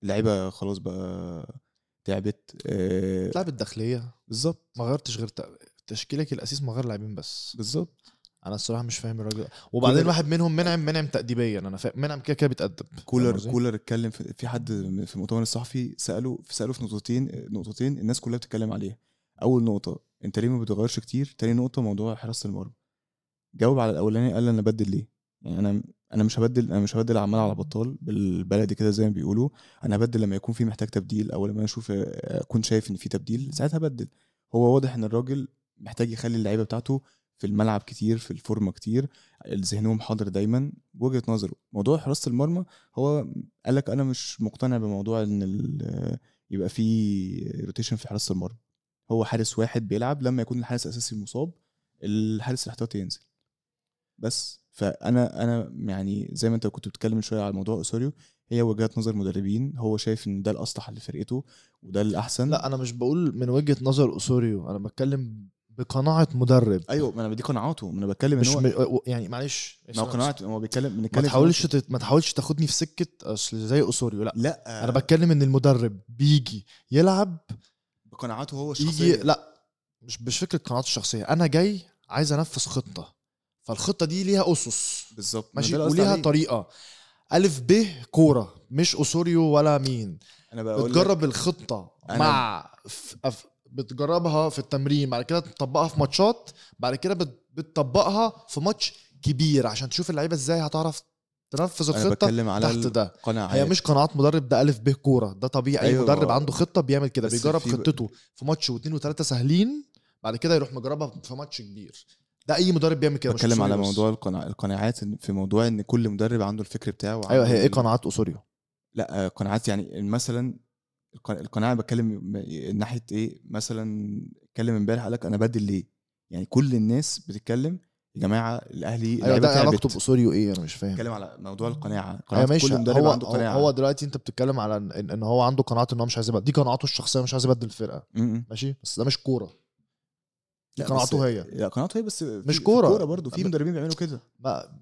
A: لعيبه خلاص بقى تعبت آه
B: لعب الداخليه
A: بالظبط
B: ما غيرتش غير تق- تشكيلك الاساس ما غير لاعبين بس
A: بالظبط
B: انا الصراحه مش فاهم الراجل وبعدين
A: كولر-
B: واحد منهم منعم منعم تاديبيا انا فاهم منعم كده كده بيتادب فاهم
A: كولر
B: قصدي؟
A: كولر اتكلم في في حد من- في المؤتمر الصحفي ساله ساله في نقطتين نقطتين الناس كلها بتتكلم عليها اول نقطه انت ليه ما بتغيرش كتير تاني نقطه موضوع حراسه المرمى جاوب على الاولاني قال انا بدل ليه يعني انا انا مش هبدل انا مش هبدل عمال على بطال بالبلدي كده زي ما بيقولوا انا هبدل لما يكون في محتاج تبديل او لما اشوف اكون شايف ان في تبديل ساعتها هبدل هو واضح ان الراجل محتاج يخلي اللعيبه بتاعته في الملعب كتير في الفورمه كتير ذهنهم حاضر دايما وجهه نظره موضوع حراسه المرمى هو قال لك انا مش مقتنع بموضوع ان ال- يبقى في روتيشن في حراسه المرمى هو حارس واحد بيلعب لما يكون الحارس الاساسي مصاب الحارس الاحتياطي ينزل بس فانا انا يعني زي ما انت كنت بتتكلم من شويه على موضوع اسوريو هي وجهات نظر مدربين هو شايف ان ده الاصلح لفرقته وده الاحسن
B: لا انا مش بقول من وجهه نظر اسوريو انا بتكلم بقناعه مدرب
A: ايوه ما انا دي قناعاته ما انا بتكلم ان
B: مش
A: هو
B: م... و- يعني معلش
A: ما هو قناعته هو بيتكلم
B: ما
A: بنتكلم في-
B: تحاولش تت... ما تحاولش تاخدني في سكه اصل زي اسوريو لا
A: لا
B: انا بتكلم ان المدرب بيجي يلعب
A: بقناعاته هو الشخصيه
B: يجي لا مش مش فكره قناعات الشخصيه انا جاي عايز انفذ خطه فالخطه دي ليها اسس
A: بالظبط ما
B: ماشي
A: ده اللي قصدي
B: وليها
A: عليه.
B: طريقه الف ب كوره مش اسوريو ولا مين
A: انا بقول لك-
B: بتجرب الخطه
A: أنا-
B: مع ف... أف... بتجربها في التمرين بعد كده تطبقها في ماتشات بعد كده بت... بتطبقها في ماتش كبير عشان تشوف اللعيبه ازاي هتعرف تنفذ
A: انا
B: الخطه
A: بتكلم على
B: تحت ده
A: القناعه
B: هي مش قناعات مدرب ده الف ب كوره ده طبيعي
A: أيوة.
B: أيوة مدرب عنده خطه بيعمل كده
A: بس
B: بيجرب
A: في-
B: خطته في ماتش واثنين وثلاثه سهلين بعد كده يروح مجربها في ماتش كبير ده اي مدرب بيعمل كده مش
A: بتكلم على
B: أوسوريو بس.
A: موضوع القناع- القناعات إن- في موضوع ان كل مدرب عنده الفكر بتاعه وعنده
B: ايوه هي ايه
A: ال-
B: قناعات اوسوريو
A: لا آه، قناعات يعني مثلا الق- القناعه بتكلم م- ناحيه ايه مثلا اتكلم امبارح قال لك انا بدل ليه يعني كل الناس بتتكلم يا جماعه الاهلي
B: ايوه
A: اللعيبة
B: ده علاقته
A: تعبت.
B: باوسوريو ايه انا مش فاهم
A: بتكلم على موضوع القناعه
B: ايوه
A: قناعه
B: ماشي
A: كل مدرب
B: هو
A: عنده قناعه
B: هو دلوقتي انت بتتكلم على ان, إن هو عنده قناعه ان هو مش عايز يبدل دي قناعته الشخصيه مش عايز يبدل الفرقه
A: م- م.
B: ماشي بس ده مش كوره دي
A: لا،
B: قناعته
A: بس-
B: هي
A: لا قناعته هي بس في-
B: مش
A: في
B: كورة.
A: كوره برضه في
B: أما-
A: مدربين بيعملوا كده
B: بقى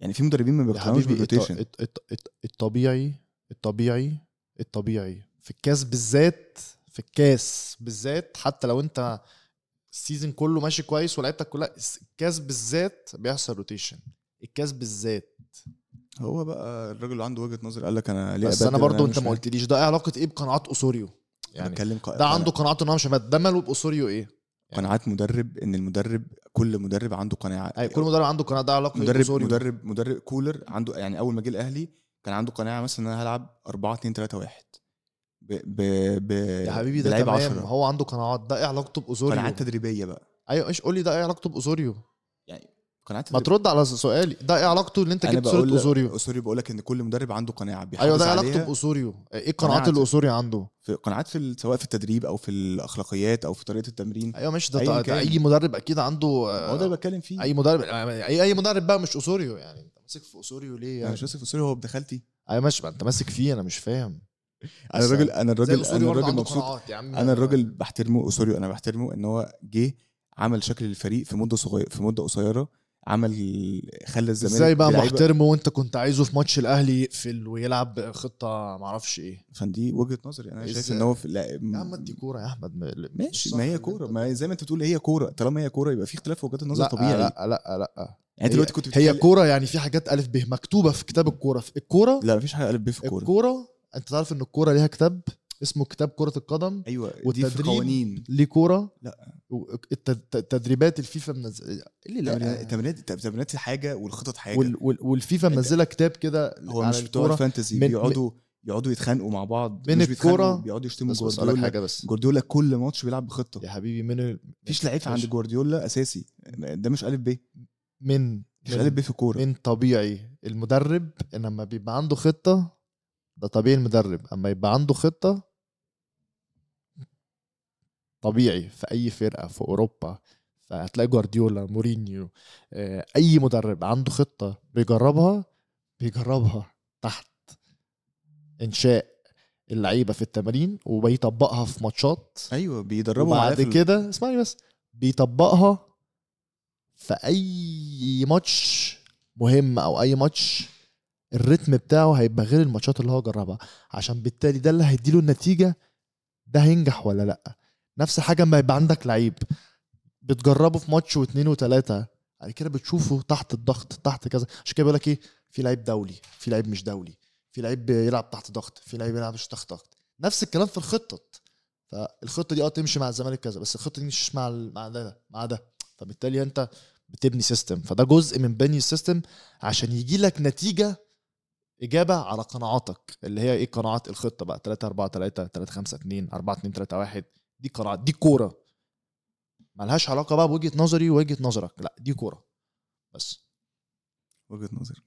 A: يعني في مدربين ما
B: يا
A: بيقتنعوش
B: حبيبي الط-
A: بالروتيشن
B: الط- الط- الط- الطبيعي الطبيعي الطبيعي في الكاس بالذات في الكاس بالذات حتى لو انت السيزون كله ماشي كويس ولعيبتك كلها الكاس بالذات بيحصل روتيشن الكاس بالذات
A: هو بقى الراجل اللي عنده وجهه نظر قال لك انا ليه
B: بس انا
A: أبدل؟
B: برضو
A: مش
B: انت ما
A: عارف.
B: قلتليش ده ايه علاقه ايه بقناعات اوسوريو
A: أنا
B: يعني
A: بتكلم ق-
B: ده عنده قناعته ان هو مش هيبقى- ده ماله باوسوريو ايه
A: قناعات مدرب ان المدرب كل مدرب عنده قناعه
B: أي كل مدرب عنده قناعه ده علاقه ايه
A: مدرب
B: باوسوريو
A: مدرب مدرب كولر عنده يعني اول ما جه الاهلي كان عنده قناعه مثلا ان انا هلعب 4 2 3 1 ب ب ب
B: يا حبيبي ده
A: بلعيبة
B: تمام
A: عشرة.
B: هو عنده قناعات ده ايه علاقته باوسوريو
A: قناعات تدريبيه بقى
B: ايوه ايش قول لي ده ايه علاقته باوسوريو
A: قناعات
B: ما
A: تدريبيه
B: ترد على سؤالي ده ايه علاقته اللي انت
A: انا
B: جبت
A: طيب. بقول
B: صوره اوسوريو
A: اوسوريو بقول لك ان كل مدرب عنده قناعه بيحافظ
B: ايوه ده ايه
A: عليها
B: علاقته باوسوريو ايه القناعات
A: قناعة.
B: اللي اوسوريو عنده
A: في قناعات في ال- سواء في التدريب او في الاخلاقيات او في طريقه التمرين
B: ايوه ماشي ده,
A: أيا
B: ده,
A: كان.
B: ده اي مدرب اكيد عنده آه،
A: هو ده اللي بتكلم فيه
B: اي مدرب اي اي مدرب بقى مش اوسوريو يعني انت ماسك في اوسوريو ليه
A: انا
B: يعني
A: مش بس في اوسوريو هو بدخلتي
B: ايوه ماشي ما انت ماسك فيه انا مش فاهم
A: انا
B: بس يعني
A: الراجل انا
B: زي
A: الراجل
B: الأسطوري
A: انا
B: برضه
A: الراجل
B: عنده
A: مبسوط
B: قناعات يا عم
A: انا الراجل بحترمه اوسوريو انا بحترمه ان هو جه عمل شكل الفريق في مده صغيره في مده قصيره عمل خلى الزمالك
B: ازاي بقى
A: بلعيبة-
B: محترمه وانت كنت عايزه في ماتش الاهلي يقفل ويلعب خطه معرفش ايه
A: فان دي وجهه نظري انا شايف
B: إزاي؟
A: ان هو في لا
B: يا عم ادي كوره يا احمد م-
A: ماشي
B: صح
A: ما هي
B: إن
A: كوره
B: أنت-
A: ما هي زي ما انت بتقول هي كوره طالما هي كوره يبقى في اختلاف في وجهات النظر
B: لا
A: طبيعي يعني
B: لا لا لا
A: انت دلوقتي كنت
B: هي
A: بتتكلم-
B: كوره يعني في حاجات الف ب مكتوبه في كتاب الكوره في الكوره
A: لا مفيش حاجه قلب بيه في الكوره
B: الكوره انت تعرف ان الكوره ليها كتاب اسمه كتاب كره القدم
A: ايوه دي في
B: والتدريب
A: قوانين
B: ليه كوره
A: لا.
B: تدريبات الفيفا منزل إيه اللي
A: التمرينات-
B: لا
A: التمرينات التمرينات حاجه والخطط حاجه
B: وال- وال- والفيفا منزله كتاب كده
A: هو
B: عن
A: مش بتوع
B: الكورة.
A: الفانتزي
B: من-
A: بيقعدوا يقعدوا يتخانقوا مع بعض
B: من
A: مش بيتخانقوا،
B: الكورة-
A: بيقعدوا يشتموا
B: بس بس أقول لك
A: جوارديولا
B: حاجه بس
A: جوارديولا كل ماتش بيلعب بخطه
B: يا حبيبي من ال...
A: مفيش لعيب عند
B: ماشي.
A: جوارديولا اساسي ده مش الف ب
B: من
A: مش الف ب في الكوره
B: من طبيعي المدرب ان لما بيبقى عنده خطه ده طبيعي المدرب اما يبقى عنده خطه طبيعي في اي فرقه في اوروبا فهتلاقي جوارديولا مورينيو آه، اي مدرب عنده خطه بيجربها بيجربها تحت انشاء اللعيبه في التمارين وبيطبقها في ماتشات
A: ايوه بيدربوا معاه
B: وبعد
A: في ال-
B: كده اسمعني بس بيطبقها في اي ماتش مهم او اي ماتش الريتم بتاعه هيبقى غير الماتشات اللي هو جربها عشان بالتالي ده اللي هيديله النتيجه ده هينجح ولا لا نفس الحاجه اما يبقى عندك لعيب بتجربه في ماتش واثنين وثلاثه بعد كده بتشوفه تحت الضغط تحت كذا عشان كده بيقول لك ايه في لعيب دولي في لعيب مش دولي في لعيب يلعب تحت ضغط في لعيب يلعب مش تحت ضغط نفس الكلام في الخطط فالخطه دي اه تمشي مع الزمالك كذا بس الخطه دي مش مع ال- مع ده مع ده فبالتالي انت بتبني سيستم فده جزء من بني السيستم عشان يجي لك نتيجه اجابه على قناعاتك اللي هي ايه قناعات الخطه بقى 3 4 3 3 5 2 4 2 3 1 دي قناعات دي كوره ملهاش علاقه بقى بوجهه نظري ووجهه نظرك لا دي كوره بس
A: وجهه نظر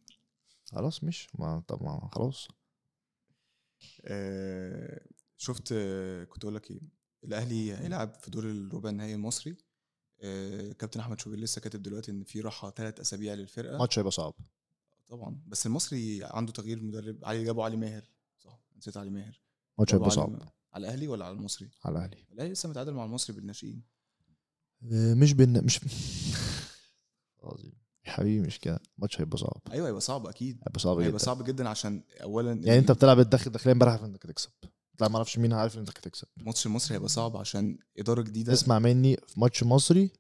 B: خلاص مش ما طب ما خلاص
A: آه، شفت آه، كنت اقول لك ايه الاهلي هيلعب في دور الربع النهائي المصري آه، كابتن احمد شوبير لسه كاتب دلوقتي ان في راحه ثلاث اسابيع للفرقه
B: الماتش هيبقى صعب
A: طبعا بس المصري عنده تغيير مدرب علي جابوا علي ماهر صح نسيت علي ماهر
B: الماتش
A: جابوا
B: هيبقى
A: علي-
B: صعب
A: على الاهلي ولا على المصري
B: على الاهلي
A: الاهلي لسه متعادل مع المصري بالناشئين
B: آه، مش بن مش عظيم يا حبيبي مش كده الماتش هيبقى صعب
A: ايوه هيبقى صعب اكيد
B: هيبقى صعب
A: هيبقى
B: جدا
A: صعب جدا عشان اولا
B: يعني انت بتلعب الداخل داخليا امبارح عارف انك هتكسب لا ما اعرفش مين عارف انك هتكسب
A: ماتش المصري هيبقى صعب عشان اداره جديده
B: اسمع مني في ماتش مصري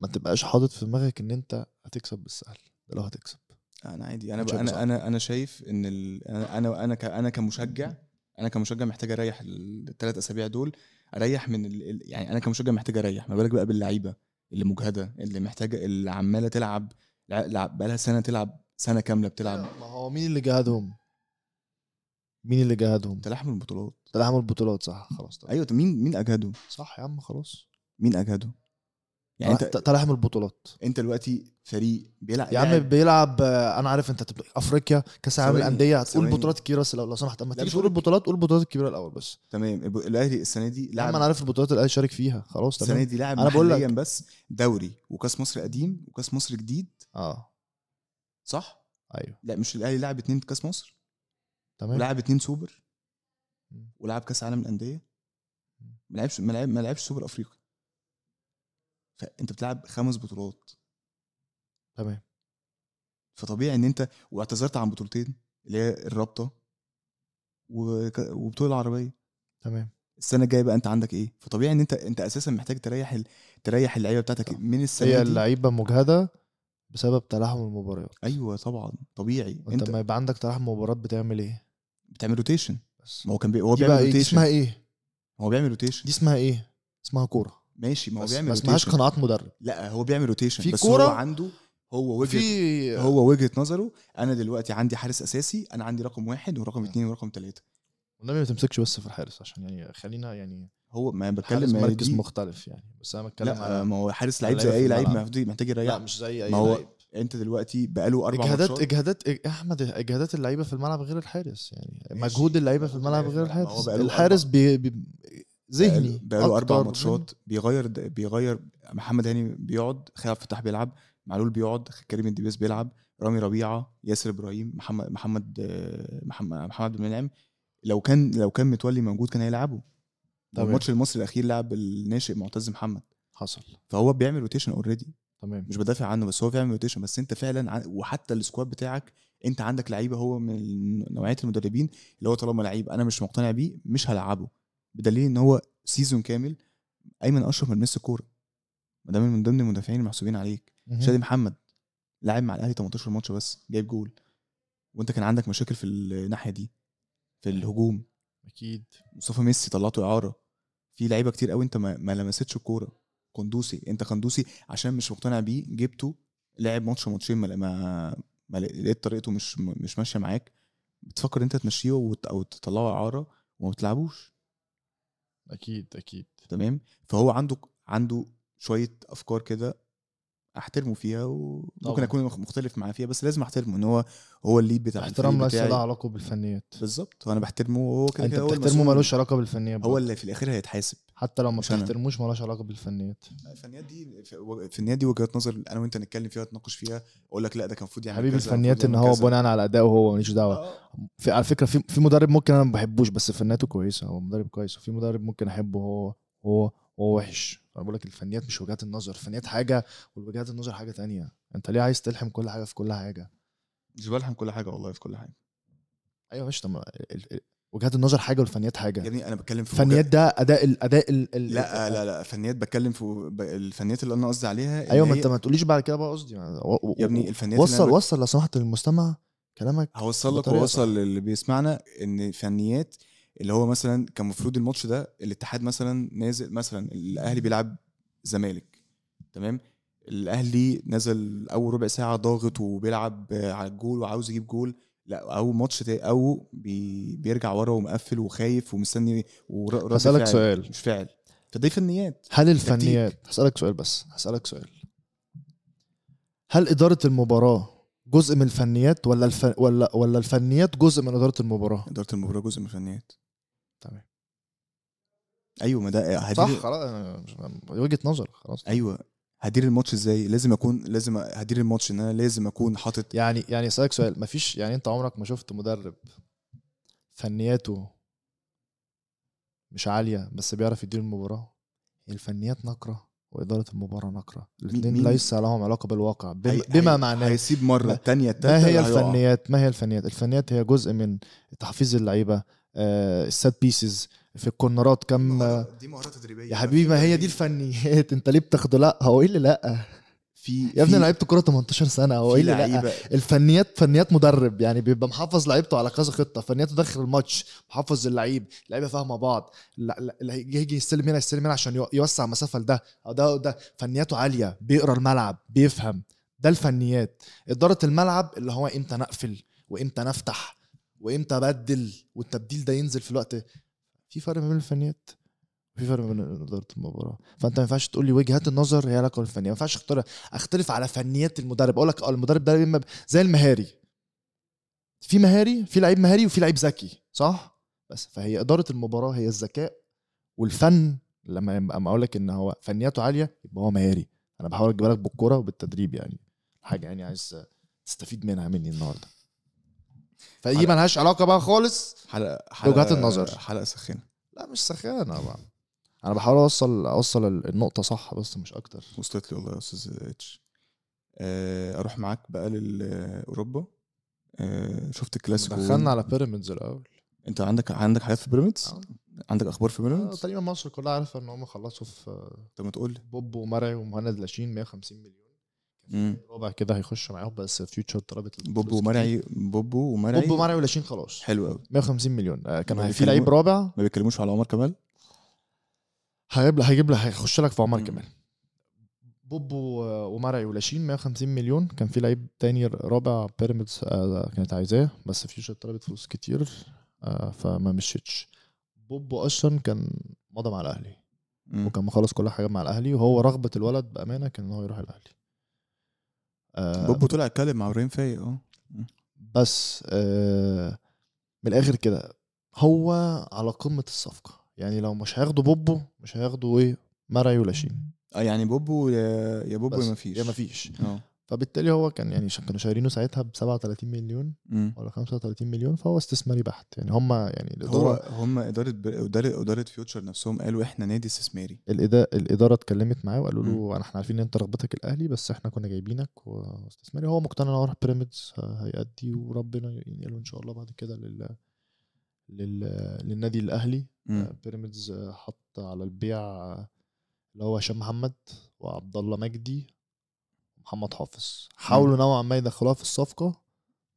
B: ما تبقاش حاطط في دماغك ان انت هتكسب بالسهل ده لو هتكسب
A: انا عادي انا
B: ماتش
A: بقى
B: هيبقى صعب.
A: انا انا انا شايف ان ال... انا انا انا ك... انا كمشجع انا كمشجع محتاج اريح الثلاث اسابيع دول اريح من ال... ال- يعني انا كمشجع محتاج اريح ما بالك بقى باللعيبه اللي مجهده اللي محتاجه اللي عماله تلعب لع- لعب بقى لها سنه تلعب سنه كامله بتلعب
B: ما هو مين اللي جهدهم مين اللي جهدهم
A: تلاحم البطولات أيوة.
B: ده اللي عمل بطولات صح خلاص طب.
A: ايوه طب مين مين اجهده
B: صح يا عم خلاص
A: مين اجهده يعني
B: آه.
A: انت
B: طالع من البطولات
A: انت دلوقتي فريق بيلعب
B: يا عم
A: لاعب-
B: بيلعب آه، انا عارف انت هتبقى افريقيا كاس العالم
A: يعني ثواني،
B: الانديه هتقول
A: ثواني.
B: البطولات الكبيره بس لو لو سمحت اما
A: لا،
B: تيجي
A: مش
B: تقول
A: هقول-
B: البطولات قول البطولات الكبيره الاول بس
A: تمام الب- الاهلي السنه دي
B: يا عم
A: لاعب
B: انا عارف البطولات اللي الاهلي شارك فيها خلاص
A: السنه
B: تمام
A: دي لاعب
B: أنا بقول لك.
A: محليا بس دوري وكاس مصر قديم وكاس مصر جديد
B: اه
A: صح؟
B: ايوه
A: لا مش الاهلي لعب اتنين كاس مصر
B: تمام
A: ولعب اتنين سوبر
B: إيه؟ مم.
A: ولعب كاس عالم الانديه
B: مم.
A: ما لعبش ما لعب- ما لعبش سوبر افريقي فانت بتلعب خمس بطولات
B: تمام
A: فطبيعي ان انت واعتذرت عن بطولتين اللي هي الرابطه وك- وبطوله العربيه
B: تمام
A: السنه الجايه بقى انت عندك ايه فطبيعي ان انت انت اساسا محتاج تريح ال... تريح اللعيبه بتاعتك
B: صح.
A: من السنه
B: هي
A: دي
B: اللعيبه مجهده بسبب تلاحم المباريات
A: ايوه طبعا طبيعي انت,
B: انت لما يبقى عندك تلاحم مباريات بتعمل ايه
A: بتعمل روتيشن
B: بس
A: ما هو كان بي... هو
B: دي بقى
A: بيعمل
B: ايه دي
A: روتيشن
B: اسمها ايه
A: هو بيعمل روتيشن
B: دي اسمها ايه اسمها كوره
A: ماشي ما هو
B: بس
A: بيعمل
B: ما اسمهاش
A: روتيشن
B: قناعات مدرب
A: لا هو بيعمل روتيشن
B: في
A: بس
B: كورة،
A: هو عنده هو وجهه
B: في
A: هو وجهه نظره انا دلوقتي عندي حارس اساسي انا عندي رقم واحد
B: آه.
A: ورقم اثنين ورقم ثلاثه
B: والنبي ما تمسكش بس في الحارس عشان يعني خلينا يعني
A: هو ما
B: الحارس
A: بتكلم ما هي
B: مركز
A: دي-
B: مختلف يعني بس انا بتكلم
A: لا
B: على
A: ما هو حارس
B: على
A: لعيب زي
B: لعيبة
A: اي
B: في
A: لعيب
B: الملعب.
A: محتاج محتاج
B: لا
A: يريح
B: مش زي اي
A: ما هو
B: لعيب.
A: انت دلوقتي بقاله اربع
B: اجهادات
A: ماتشات
B: اجهادات إج- احمد اجهادات اللعيبه في الملعب غير الحارس يعني
A: ماشي.
B: مجهود اللعيبه في الملعب غير
A: ما هو
B: الحارس
A: بقاله
B: الحارس بي بي ذهني
A: بقاله- بقاله اربع
B: أكتر
A: ماتشات بيغير بيغير محمد هاني بيقعد خالد فتح بيلعب معلول بيقعد كريم الدبيس بيلعب رامي ربيعه ياسر ابراهيم محمد محمد آه، محمد محمد بن منعم لو كان لو كان متولي موجود كان هيلعبه
B: تمام.
A: الماتش المصري الاخير لعب الناشئ معتز محمد
B: من- حصل
A: فهو بيعمل روتيشن اوريدي
B: تمام
A: مش بدافع عنه بس هو بيعمل روتيشن بس انت فعلا ع- وحتى السكواد بتاعك انت عندك لعيبه هو من نوعيه المدربين اللي هو طالما لعيب انا مش مقتنع بيه مش هلعبه بدليل ان هو سيزون كامل ايمن اشرف من ميسي الكوره ما ده من ضمن المدافعين المحسوبين عليك
B: مهم.
A: شادي محمد لاعب مع الاهلي 18 ماتش بس جايب جول وانت كان عندك مشاكل في الناحيه دي في الهجوم
B: اكيد
A: مصطفى ميسي طلعته اعاره في لعيبه كتير قوي انت ما, ما لمستش الكوره قندوسي انت قندوسي عشان مش مقتنع بيه جبته لعب ماتش ماتشين ما, ما, ما لقيت طريقته مش مش ماشيه معاك بتفكر انت تمشيه وت- او تطلعه اعاره وما بتلعبوش
B: اكيد اكيد
A: تمام فهو عنده عنده شويه افكار كده احترمه فيها وممكن
B: طبعا.
A: اكون مخ- مختلف معاه فيها بس لازم احترمه ان هو هو الليد بتاع
B: احترام
A: الفريق
B: ليس له
A: بتاعي
B: علاقه بالفنيات
A: بالظبط وانا بحترمه وهو كده
B: انت
A: كده هو
B: بتحترمه
A: المسؤول.
B: ملوش علاقه بالفنيه
A: هو
B: برضه.
A: اللي في الاخر هيتحاسب
B: حتى لو ما
A: مش أنا.
B: بتحترموش ملوش علاقه بالفنيات
A: الفنيات دي الفنيات دي وجهات نظر انا وانت نتكلم فيها نتناقش فيها اقول لك لا ده كان المفروض يعمل
B: حبيبي
A: يعني كذا، المفروض
B: الفنيات ان
A: يعمل
B: هو
A: كذا.
B: بناء على ادائه هو ماليش دعوه
A: آه،
B: في على فكره في في مدرب ممكن انا ما بحبوش بس فنياته كويسه هو مدرب كويس وفي مدرب ممكن احبه هو هو هو وحش انا بقول لك الفنيات مش وجهات النظر الفنيات حاجه والوجهات النظر حاجه تانية انت ليه عايز تلحم كل حاجه في كل حاجه
A: مش بلحم كل حاجه والله في كل حاجه
B: ايوه ماشي طب ما ال- ال- وجهات النظر حاجه والفنيات
A: يا
B: حاجه
A: ابني انا بتكلم في
B: الفنيات
A: وجه-
B: ده اداء الاداء ال ال-
A: لا لا لا فنيات بتكلم في ب- الفنيات اللي انا قصدي عليها إن
B: ايوه ما
A: هي-
B: انت ما تقوليش بعد كده بقى قصدي يعني و- و-
A: يا ابني
B: و-
A: الفنيات اللي
B: وصل
A: أنا بك-
B: وصل لو سمحت للمستمع كلامك
A: هوصل لك
B: بطريقة صح.
A: ووصل للي بيسمعنا ان فنيات اللي هو مثلا كان المفروض الماتش ده الاتحاد مثلا نازل مثلا الاهلي بيلعب زمالك تمام الاهلي نزل اول ربع ساعه ضاغط وبيلعب آه، على الجول وعاوز يجيب جول لا او ماتش تا- او بي بيرجع ورا ومقفل وخايف ومستني ورد
B: هسألك
A: فعل
B: سؤال.
A: مش فعل فدي فنيات
B: هل الفنيات هسألك سؤال بس هسألك سؤال هل إدارة المباراة جزء من الفنيات ولا الف... ولا ولا الفنيات جزء من إدارة المباراة؟
A: اداره المباراه جزء من الفنيات
B: تمام
A: ايوه ما ده
B: صح
A: هدير-
B: خلاص أنا مش- وجهة نظر خلاص
A: ايوه هدير الماتش ازاي لازم اكون لازم هدير الماتش ان انا لازم اكون حاطط
B: يعني يعني أسألك سؤال مفيش يعني أنت عمرك ما شفت مدرب فنياته مش عالية بس بيعرف يدير المباراة الفنيات نقرة وإدارة المباراة نقرة الاثنين
A: مين-
B: ليس لهم علاقة بالواقع بم...
A: هي-
B: بما
A: هي-
B: معناه
A: هيسيب مره
B: ما-
A: الثانيه الثالثه
B: ما هي الفنيات ما هي الفنيات الفنيات هي جزء من تحفيز اللعيبه آه، السات بيسز في الكورنرات كم
A: آه، دي مهاره تدريبيه
B: يا حبيبي ما هي دي الفنيات انت ليه بتاخده لا هو ايه اللي لا
A: في
B: يا ابني
A: في-
B: انا لعبت كوره 18 سنه هو
A: في
B: ايه اللي لا
A: لعيبه
B: الفنيات فنيات مدرب يعني بيبقى محافظ لعيبته على كذا خطه فنياته داخل الماتش محافظ اللعيب اللعيبه فاهمه بعض الل- الل- اللي هيجي يجي يستلم هنا يستلم هنا عشان يو- يوسع مسافه لده أو ده أو ده فنياته عاليه بيقرا الملعب بيفهم ده الفنيات اداره الملعب اللي هو امتى نقفل وامتى نفتح وامتى ابدل والتبديل ده ينزل في الوقت في فرق ما بين الفنيات في فرق بين اداره المباراه فانت ما ينفعش تقول لي وجهات النظر هي لك الفنيه ما ينفعش اختار اختلف على فنيات المدرب اقول لك اه المدرب ده بيبقى زي المهاري في مهاري في لعيب مهاري وفي لعيب ذكي صح بس فهي اداره المباراه هي الذكاء والفن لما يبقى- اما اقول لك ان هو فنياته عاليه يبقى هو مهاري انا بحاول اجيب لك بالكوره وبالتدريب يعني حاجه يعني عايز تستفيد منها مني النهارده فدي
A: على-
B: ملهاش علاقه بقى خالص
A: حلقه حلقه
B: وجهات النظر.
A: حلقه سخنه
B: لا مش سخانه بقى انا بحاول اوصل اوصل النقطه صح بس مش اكتر
A: وصلت لي والله يا استاذ اتش آه، اروح معاك بقى لاوروبا آه، شفت الكلاسيكو
B: دخلنا على بيراميدز الاول
A: انت عندك عندك حاجات في بيراميدز
B: آه.
A: عندك اخبار في
B: آه،
A: بيراميدز
B: تقريبا مصر كلها عارفه ان هم خلصوا في
A: طب ما تقول لي
B: بوب ومرعي ومهند لاشين 150 مليون
A: مم.
B: ربع كده هيخش معاهم بس فيوتشر طلبت الفلوس
A: بوبو
B: كتير.
A: ومرعي بوبو ومرعي
B: بوب ومرعي ولاشين خلاص
A: حلو قوي
B: 150 مليون آه، كان
A: ما
B: في لعيب
A: بيتكلموا-
B: رابع
A: ما بيتكلموش على عمر كمال
B: هيجيب هيجيب لك هيخش لك في عمر
A: مم.
B: كمال بوب و- ومرعي ولاشين 150 مليون كان في لعيب تاني رابع بيراميدز آه، كانت عايزاه بس فيوتشر طلبت فلوس كتير آه، فما مشيتش بوب اصلا كان مضى مع الاهلي
A: مم.
B: وكان مخلص كل حاجه مع الاهلي وهو رغبه الولد بامانه كان ان هو يروح الاهلي آه،
A: بوبو طلع اتكلم مع ابراهيم فايق اه
B: بس آه، من الاخر كده هو على قمه الصفقه يعني لو مش هياخدوا بوبو مش هياخدوا ايه مرعي ولاشين
A: آه، يعني بوبو يا يا بوبو
B: بس
A: يا ما فيش
B: يا ما فيش
A: اه
B: فبالتالي هو كان يعني ش- كانوا شايرينه ساعتها ب 37 مليون
A: مم.
B: ولا 35 مليون فهو استثماري بحت يعني هم يعني
A: هو
B: الاداره
A: هم اداره بر- اداره اداره فيوتشر نفسهم قالوا احنا نادي استثماري
B: الإدا- الاداره اتكلمت معاه وقالوا له احنا عارفين ان انت رغبتك الاهلي بس احنا كنا جايبينك واستثماري هو مقتنع ان هو راح بيراميدز آه، هيأدي وربنا ينقله ان شاء الله بعد كده لل لل للنادي الاهلي
A: مم.
B: آه، بيراميدز آه، حط على البيع آه، اللي هو هشام محمد وعبد الله مجدي محمد حافظ حاولوا نوعا ما يدخلوها في الصفقه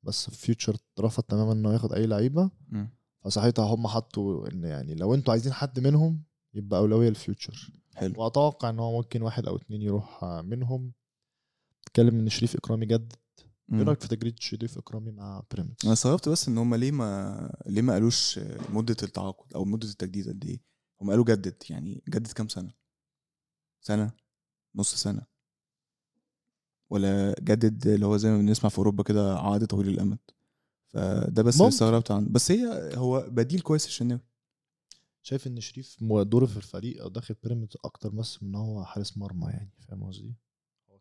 B: بس فيوتشر رفض تماما انه ياخد اي لعيبه
A: مم.
B: فساعتها هم حطوا ان يعني لو انتوا عايزين حد منهم يبقى اولويه لفيوتشر
A: حلو
B: واتوقع ان هو ممكن واحد او اتنين يروح آه، منهم اتكلم ان شريف اكرامي جدد ايه
A: مم.
B: رايك في تجريد شريف اكرامي مع
A: انا
B: بيراميدز
A: استغربت بس ان هم ليه ما ليه ما قالوش مده التعاقد او مده التجديد قد ايه هم قالوا جدد يعني جدد كام سنه سنه نص سنه ولا جدد اللي هو زي ما بنسمع في اوروبا كده عقد طويل الامد فده بس اللي
B: ممكن.
A: استغربت عنه بس هي هو بديل كويس للشناوي
B: شايف ان شريف مو- دوره في الفريق او داخل بيراميدز اكتر بس من إن هو حارس مرمى يعني فاهم قصدي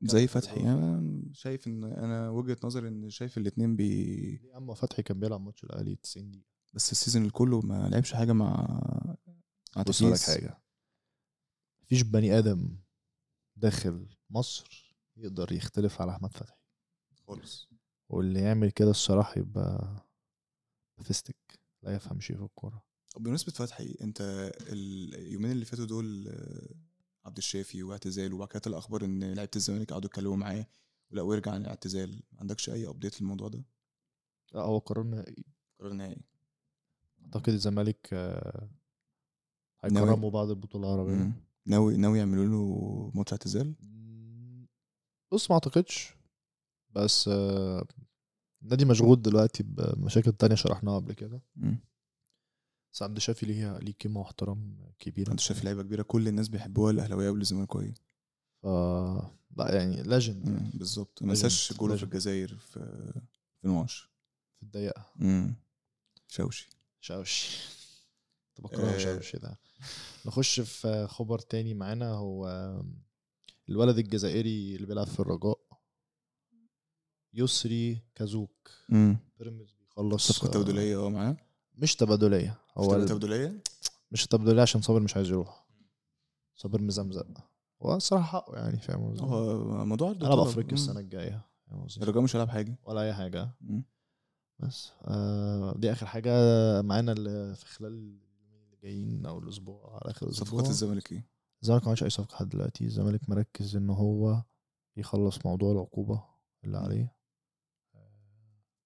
A: زي فتحي آه. انا شايف ان انا وجهه نظري ان شايف الاتنين بي
B: ليه اما فتحي كان بيلعب ماتش الاهلي 90 دقيقه
A: بس السيزون اللي كله ما لعبش حاجه مع مع
B: بص لك
A: تركيز.
B: حاجه مفيش بني ادم داخل مصر يقدر يختلف على احمد فتحي
A: خالص
B: واللي يعمل كده الصراحه يبقى فيستك لا يفهم شيء في الكوره
A: طب بمناسبة فتحي انت اليومين اللي فاتوا دول آه، عبد الشافي واعتزال وبعد كده طلع اخبار ان لعيبة الزمالك قعدوا يتكلموا معاه ولا ويرجع عن الاعتزال ما عندكش اي ابديت للموضوع ده
B: لا هو قرار نهائي
A: قرار نهائي
B: اعتقد الزمالك آه،
A: ناوي.
B: هيكرموا بعد البطوله العربيه
A: مم. ناوي ناوي يعملوا له ماتش اعتزال
B: بص ما اعتقدش بس آه، النادي مشغول دلوقتي بمشاكل تانية شرحناها قبل كده
A: مم.
B: بس عبد الشافي ليه ليه قيمه واحترام كبير
A: عبد الشافي لعيبة كبيرة كل الناس بيحبوها الاهلاوية والزمالكوية
B: ف لا يعني ليجند
A: مم.
B: يعني
A: بالظبط ما نساش
B: لازم-
A: جوله في
B: لازم.
A: الجزائر في في نواش
B: في الضيقه
A: مم. شوشي
B: شاوشي كنت بكره
A: آه.
B: شاوشي إيه ده نخش في خبر تاني معانا هو الولد الجزائري اللي بيلعب في الرجاء يسري كازوك
A: مم.
B: بيراميدز بيخلص آه،
A: صفقة تبادلية اه معاه
B: مش تبادلية هو
A: هو
B: ال-
A: تبادلية
B: مش تبادلية عشان صابر مش عايز يروح صابر مزمزق هو الصراحة حقه يعني فاهم قصدي؟
A: هو موضوع عرض
B: ألعب
A: وطلب.
B: أفريقيا
A: مم.
B: السنة الجاية فاهم قصدي؟
A: الرجاء مش هيلعب حاجة
B: ولا أي حاجة
A: مم.
B: بس آه دي آخر حاجة معانا اللي في خلال اليومين اللي جايين أو الأسبوع على آخر الأسبوع
A: صفقات الزمالك إيه؟
B: الزمالك ما عملش اي صفقه لحد دلوقتي الزمالك مركز ان هو يخلص موضوع العقوبه اللي عليه آه،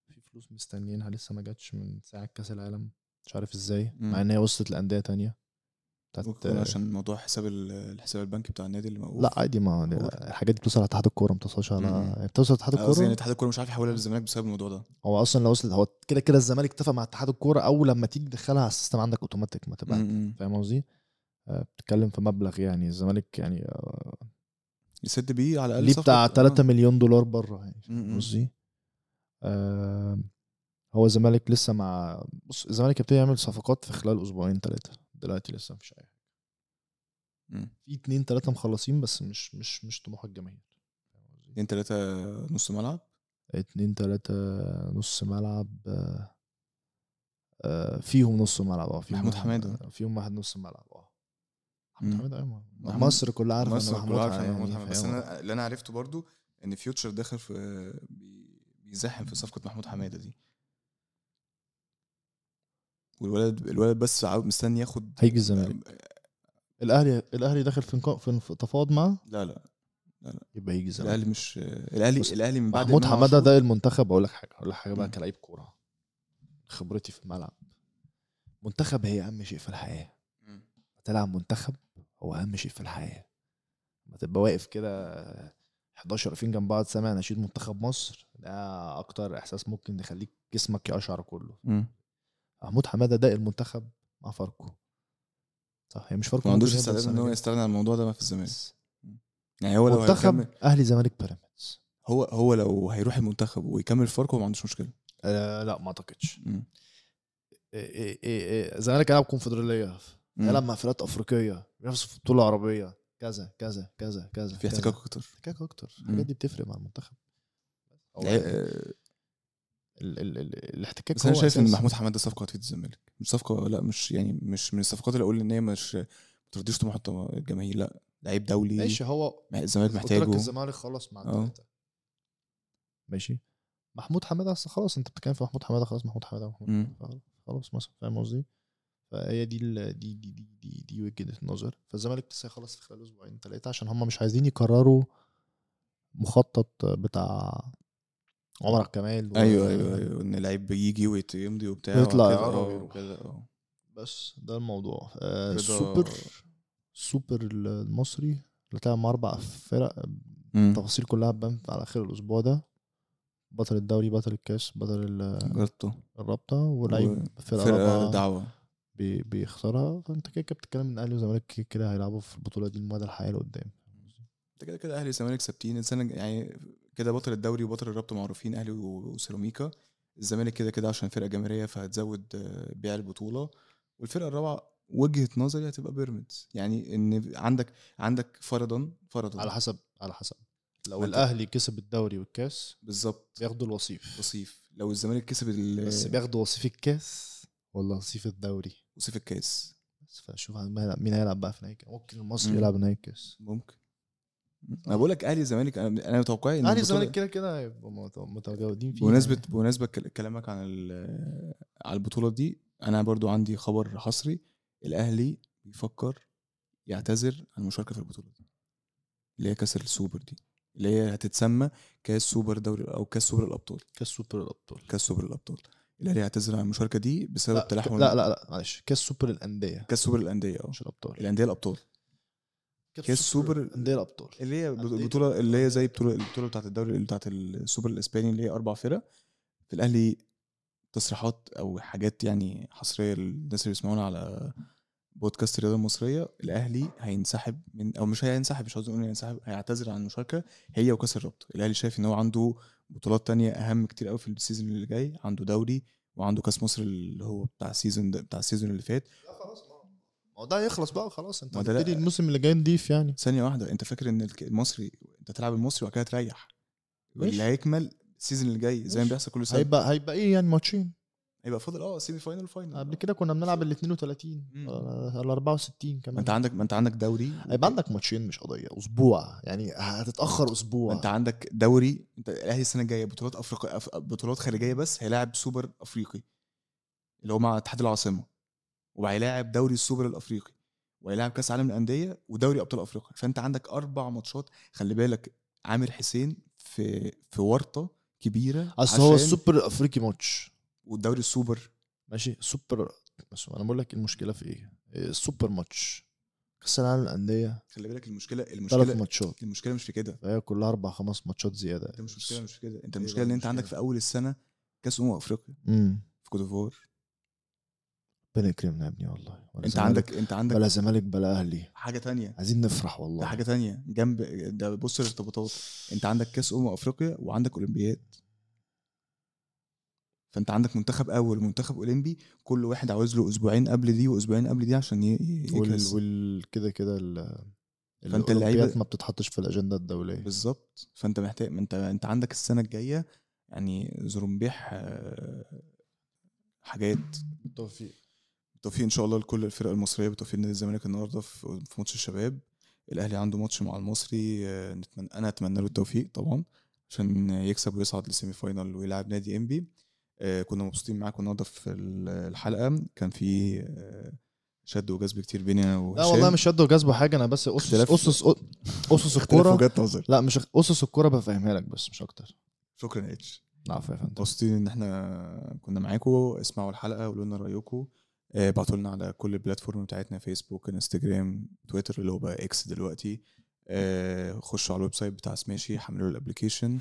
B: في فلوس مستنيينها لسه ما جاتش من ساعه كاس العالم مش عارف ازاي
A: مم.
B: مع ان هي وصلت لانديه تانية بتاعت
A: ممكن عشان موضوع حساب ال- الحساب البنكي بتاع النادي اللي موقوف
B: لا عادي ما
A: أوف.
B: الحاجات دي بتوصل على اتحاد الكوره ما بتوصلش على
A: مم.
B: يعني بتوصل اتحاد
A: أنا قصدي يعني
B: الكوره
A: اتحاد الكوره مش عارف يحولها للزمالك بسبب الموضوع ده
B: هو اصلا لو وصلت هو كده كده الزمالك اتفق مع اتحاد الكوره اول لما تيجي تدخلها على السيستم عندك اوتوماتيك ما تبقى
A: مم.
B: فاهم قصدي؟ آه، بتتكلم في مبلغ يعني الزمالك يعني آه،
A: يسد بيه على الاقل
B: ليه بتاع
A: صفقة- آه.
B: 3 مليون دولار بره يعني
A: م- م.
B: فاهم قصدي آه، هو الزمالك لسه مع بص الزمالك ابتدى يعمل صفقات في خلال اسبوعين ثلاثه دلوقتي لسه مفيش اي حاجه
A: م.
B: في اتنين ثلاثه مخلصين بس مش مش مش طموح الجماهير فاهم قصدي؟
A: اتنين تلاته نص ملعب
B: اتنين تلاتة نص ملعب آه، آه، فيهم نص ملعب اه فيهم
A: محمود
B: واحد-
A: حميدة.
B: فيهم واحد نص ملعب اه
A: مم.
B: محمود حميدة ايوه
A: محمود-
B: مصر كلها عارفة إن
A: مصر كلها عارفة إن
B: يعني
A: محمود حميد بس
B: فاهم؟
A: انا اللي انا عرفته برضو ان فيوتشر داخل في بي- بيزاحم في صفقه محمود حماده دي والولد الولد بس عاو- مستني ياخد
B: هيجي الزمالك. الاهلي الاهلي داخل في نقا- في تفاوض معاه
A: لا لا
B: يبقى يجي زمالك
A: الاهلي مش الاهلي
B: بص،
A: الاهلي من بعد
B: محمود
A: إمام
B: حماده
A: عاشور-
B: ده المنتخب اقول لك حاجه اقول لك حاجه بقى
A: مم.
B: كلاعب كوره خبرتي في الملعب منتخب هي اهم شيء في الحياه
A: مم.
B: تلعب منتخب هو اهم شيء في الحياه ما تبقى واقف كده 11 واقفين جنب بعض سامع نشيد منتخب مصر ده اكتر احساس ممكن يخليك جسمك يقشعر كله
A: مم.
B: محمود حماده ده المنتخب مع فاركو صح هي مش فاركو
A: ما عندوش
B: موجود هنا
A: استعداد ان هو
B: الزمالك.
A: يستغنى عن الموضوع ده ما في الزمالك
B: بس
A: يعني هو لو
B: منتخب
A: هيكمل
B: اهلي زمالك بيراميدز
A: هو هو لو هيروح المنتخب ويكمل في فاركو ما عندوش مشكله
B: آه لا ما اعتقدش
A: مم.
B: إيه- إيه- إيه- الزمالك هيلعب كونفدراليه
A: مم.
B: هيلعب مع افريقيه بينافس في بطوله عربيه كذا كذا كذا كذا
A: في
B: كذا.
A: احتكاك اكتر
B: احتكاك اكتر
A: مم.
B: الحاجات دي بتفرق مع المنتخب أو يعني
A: آه،
B: ال- ال- ال- الاحتكاك
A: بس انا
B: هو
A: شايف ان
B: أساس.
A: محمود حماده صفقه هتفيد الزمالك مش صفقه لا مش يعني مش من الصفقات اللي اقول ان هي مش ما ترضيش طموح الط- الجماهير لا لعيب دولي
B: ماشي هو
A: مع- الزمالك
B: قلت لك
A: محتاجه
B: الزمالك خلاص مع
A: آه.
B: التلاتة ماشي محمود حماده اصل خلاص انت بتتكلم في محمود حماده خلاص محمود حماده محمود
A: مم.
B: حمادة. خلاص مثلا فاهم قصدي فهي دي ال- دي دي دي دي, دي وجهه النظر فالزمالك لسه هيخلص في خلال اسبوعين ثلاثه عشان هم مش عايزين يكرروا مخطط بتاع عمر كمال
A: ايوه ايوه ايوه ان لعيب بيجي ويت- يمضي وبتاع
B: ويطلع
A: وهكذا،
B: إعارة
A: آه،
B: ويروح.
A: وكده اه
B: بس ده الموضوع آه
A: رضا-
B: السوبر السوبر المصري اللي طلع مع اربع فرق
A: مم.
B: التفاصيل كلها هتبان على اخر الاسبوع ده بطل الدوري بطل الكاس بطل ال-
A: جربته
B: الرابطه ولعيب فرقه
A: فرقه
B: رابعه
A: دعوه
B: بي- بيخسرها فانت كده كده بتتكلم ان الاهلي والزمالك كده كده هيلعبوا في البطوله دي المدى الحياه اللي قدام
A: انت كده كده اهلي والزمالك ثابتين السنه يعني كده بطل الدوري وبطل الرابطه معروفين اهلي و- وسيراميكا الزمالك كده كده عشان فرقه جماهيريه فهتزود آه، بيع البطوله والفرقه الرابعه وجهه نظري هتبقى بيراميدز يعني ان عندك عندك فرضا فرضا
B: على حسب على حسب لو
A: ما انت-
B: الاهلي كسب الدوري والكاس
A: بالظبط
B: بياخدوا الوصيف
A: وصيف لو الزمالك كسب ال-
B: بس بياخدوا وصيف الكاس ولا وصيف الدوري
A: وصيف الكاس
B: بس فشوف هن- مين هيلعب بقى في نهائي الكاس. ممكن المصري
A: مم.
B: يلعب نهائي الكاس
A: ممكن انا بقول لك اهلي الزمالك انا انا متوقعي ان
B: الاهلي
A: البطولة-
B: والزمالك كده كده هيبقوا مت- متجاودين فيه
A: بمناسبة بمناسبة كل- كلامك عن ال- على البطولة دي أنا برضو عندي خبر حصري الأهلي بيفكر يعتذر عن المشاركة في البطولة دي اللي هي كأس السوبر دي اللي هي هتتسمى كأس سوبر دوري أو كأس سوبر الأبطال
B: كاس سوبر الابطال
A: كأس سوبر الأبطال الأهلي هيعتذر عن المشاركة دي بسبب تلاحم
B: لا لا لا معلش كاس سوبر الانديه
A: كأس سوبر الأندية أه
B: مش الابطال
A: الأندية الأبطال كأس سوبر
B: الانديه الابطال
A: اللي هي
B: أندية
A: البطولة اللي هي زي بطولة البطولة بتاعت الدوري بتاعت السوبر الإسباني اللي هي أربع فرق في الأهلي تصريحات أو حاجات يعني حصرية للناس اللي بيسمعونا على بودكاست الرياضة المصرية الأهلي هينسحب من أو مش هينسحب مش عاوز أقول إنه هينسحب هيعتذر عن المشاركة هي وكأس الرابطة الأهلي شايف إن هو عنده بطولات تانية أهم كتير أوي في السيزون اللي جاي عنده دوري وعنده كأس مصر اللي هو بتاع السيزون ده بتاع السيزون اللي فات
B: لا خلاص ما هو- ما هو ده هيخلص بقى خلاص انت
A: ما ده لا.
B: هتبتدي الموسم اللي جاي نضيف يعني
A: ثانية واحدة أنت فاكر إن الك- المصري أنت تلعب المصري وبعد كده تريح اللي
B: ماشي.
A: هيكمل السيزون اللي جاي زي ما
B: ماشي.
A: بيحصل كل سنة هيبقى,
B: هيبقى هيبقى ايه يعني ماتشين
A: هيبقى فاضل أه سيمي فاينل وفاينل
B: قبل كده آه. كنا بنلعب ال 32
A: مم.
B: ال 64
A: ما أنت
B: كمان
A: عندك ما أنت عندك دوري
B: هيبقى عندك ماتشين مش قضيه اسبوع يعني هتتاخر
A: ما
B: اسبوع
A: أنت عندك دوري أنت الأهلي السنة الجاية بطولات أفريقيا أف... بطولات خارجية بس هيلاعب سوبر أفريقي اللي هو مع اتحاد العاصمة وهيلاعب دوري السوبر الأفريقي وهيلاعب كأس عالم الأندية ودوري أبطال أفريقيا فأنت عندك أربع ماتشات خلي بالك عامر حسين في في ورطة كبيرة
B: اصل هو
A: عشان-
B: السوبر الافريقي ماتش
A: والدوري السوبر
B: ماشي سوبر بس انا بقول لك المشكله في ايه السوبر ماتش كاس العالم للانديه
A: خلي بالك المشكلة
B: ثلاث
A: المشكلة
B: ماتشات
A: المشكلة مش في كده
B: فهي كلها اربع خمس ماتشات زياده
A: انت مش مشكله مش كده انت
B: ايه
A: المشكله
B: بقى
A: ان انت
B: المشكلة؟
A: عندك أمم في اول السنه كاس امم افريقيا
B: امم
A: في كوت ديفوار
B: ربنا يكرمنا يا ابني والله ولا
A: انت
B: زمالك-
A: عندك انت عندك
B: بلا زمالك بلا اهلي
A: حاجه تانية
B: عايزين نفرح والله
A: ده حاجه تانية جنب ده بص الارتباطات انت عندك كاس امم افريقيا وعندك اولمبياد فانت عندك منتخب اول ومنتخب اولمبي كل واحد عاوز له اسبوعين قبل دي واسبوعين قبل دي عشان ي- ي-
B: وال,
A: يجهز
B: وال كده كده ال
A: فأنت
B: الأولمبيات
A: اللعيبة-
B: ما بتتحطش في الاجنده الدوليه
A: بالظبط فانت محتاج ما انت انت عندك السنه الجايه يعني زرمبيح آه، حاجات
B: بالتوفيق
A: بالتوفيق ان شاء الله لكل الفرق المصريه بالتوفيق لنادي الزمالك النهارده في في ماتش الشباب الاهلي عنده ماتش مع المصري آه، نتمنى انا اتمنى له التوفيق طبعا عشان يكسب ويصعد للسيمي فاينال ويلعب نادي انبي آه، كنا مبسوطين معاكم النهارده في ال- الحلقه كان في آه، شد وجذب كتير بيني انا
B: لا
A: وهشام
B: والله مش شد وجذب حاجه انا بس اسس
A: اختلاف-
B: اسس اسس
A: اختلاف
B: الكوره
A: وجهات نظر
B: لا مش اسس الكوره بفهمها لك بس مش اكتر
A: شكرا يا اتش
B: العفو يا فندم
A: مبسوطين ان احنا كنا معاكم اسمعوا الحلقه وقولوا لنا رايكم آه، ابعتوا لنا على كل البلاتفورم بتاعتنا فيسبوك انستجرام تويتر اللي هو بقى اكس دلوقتي آه، خشوا على الويب سايت بتاع سماشي حملوا الابلكيشن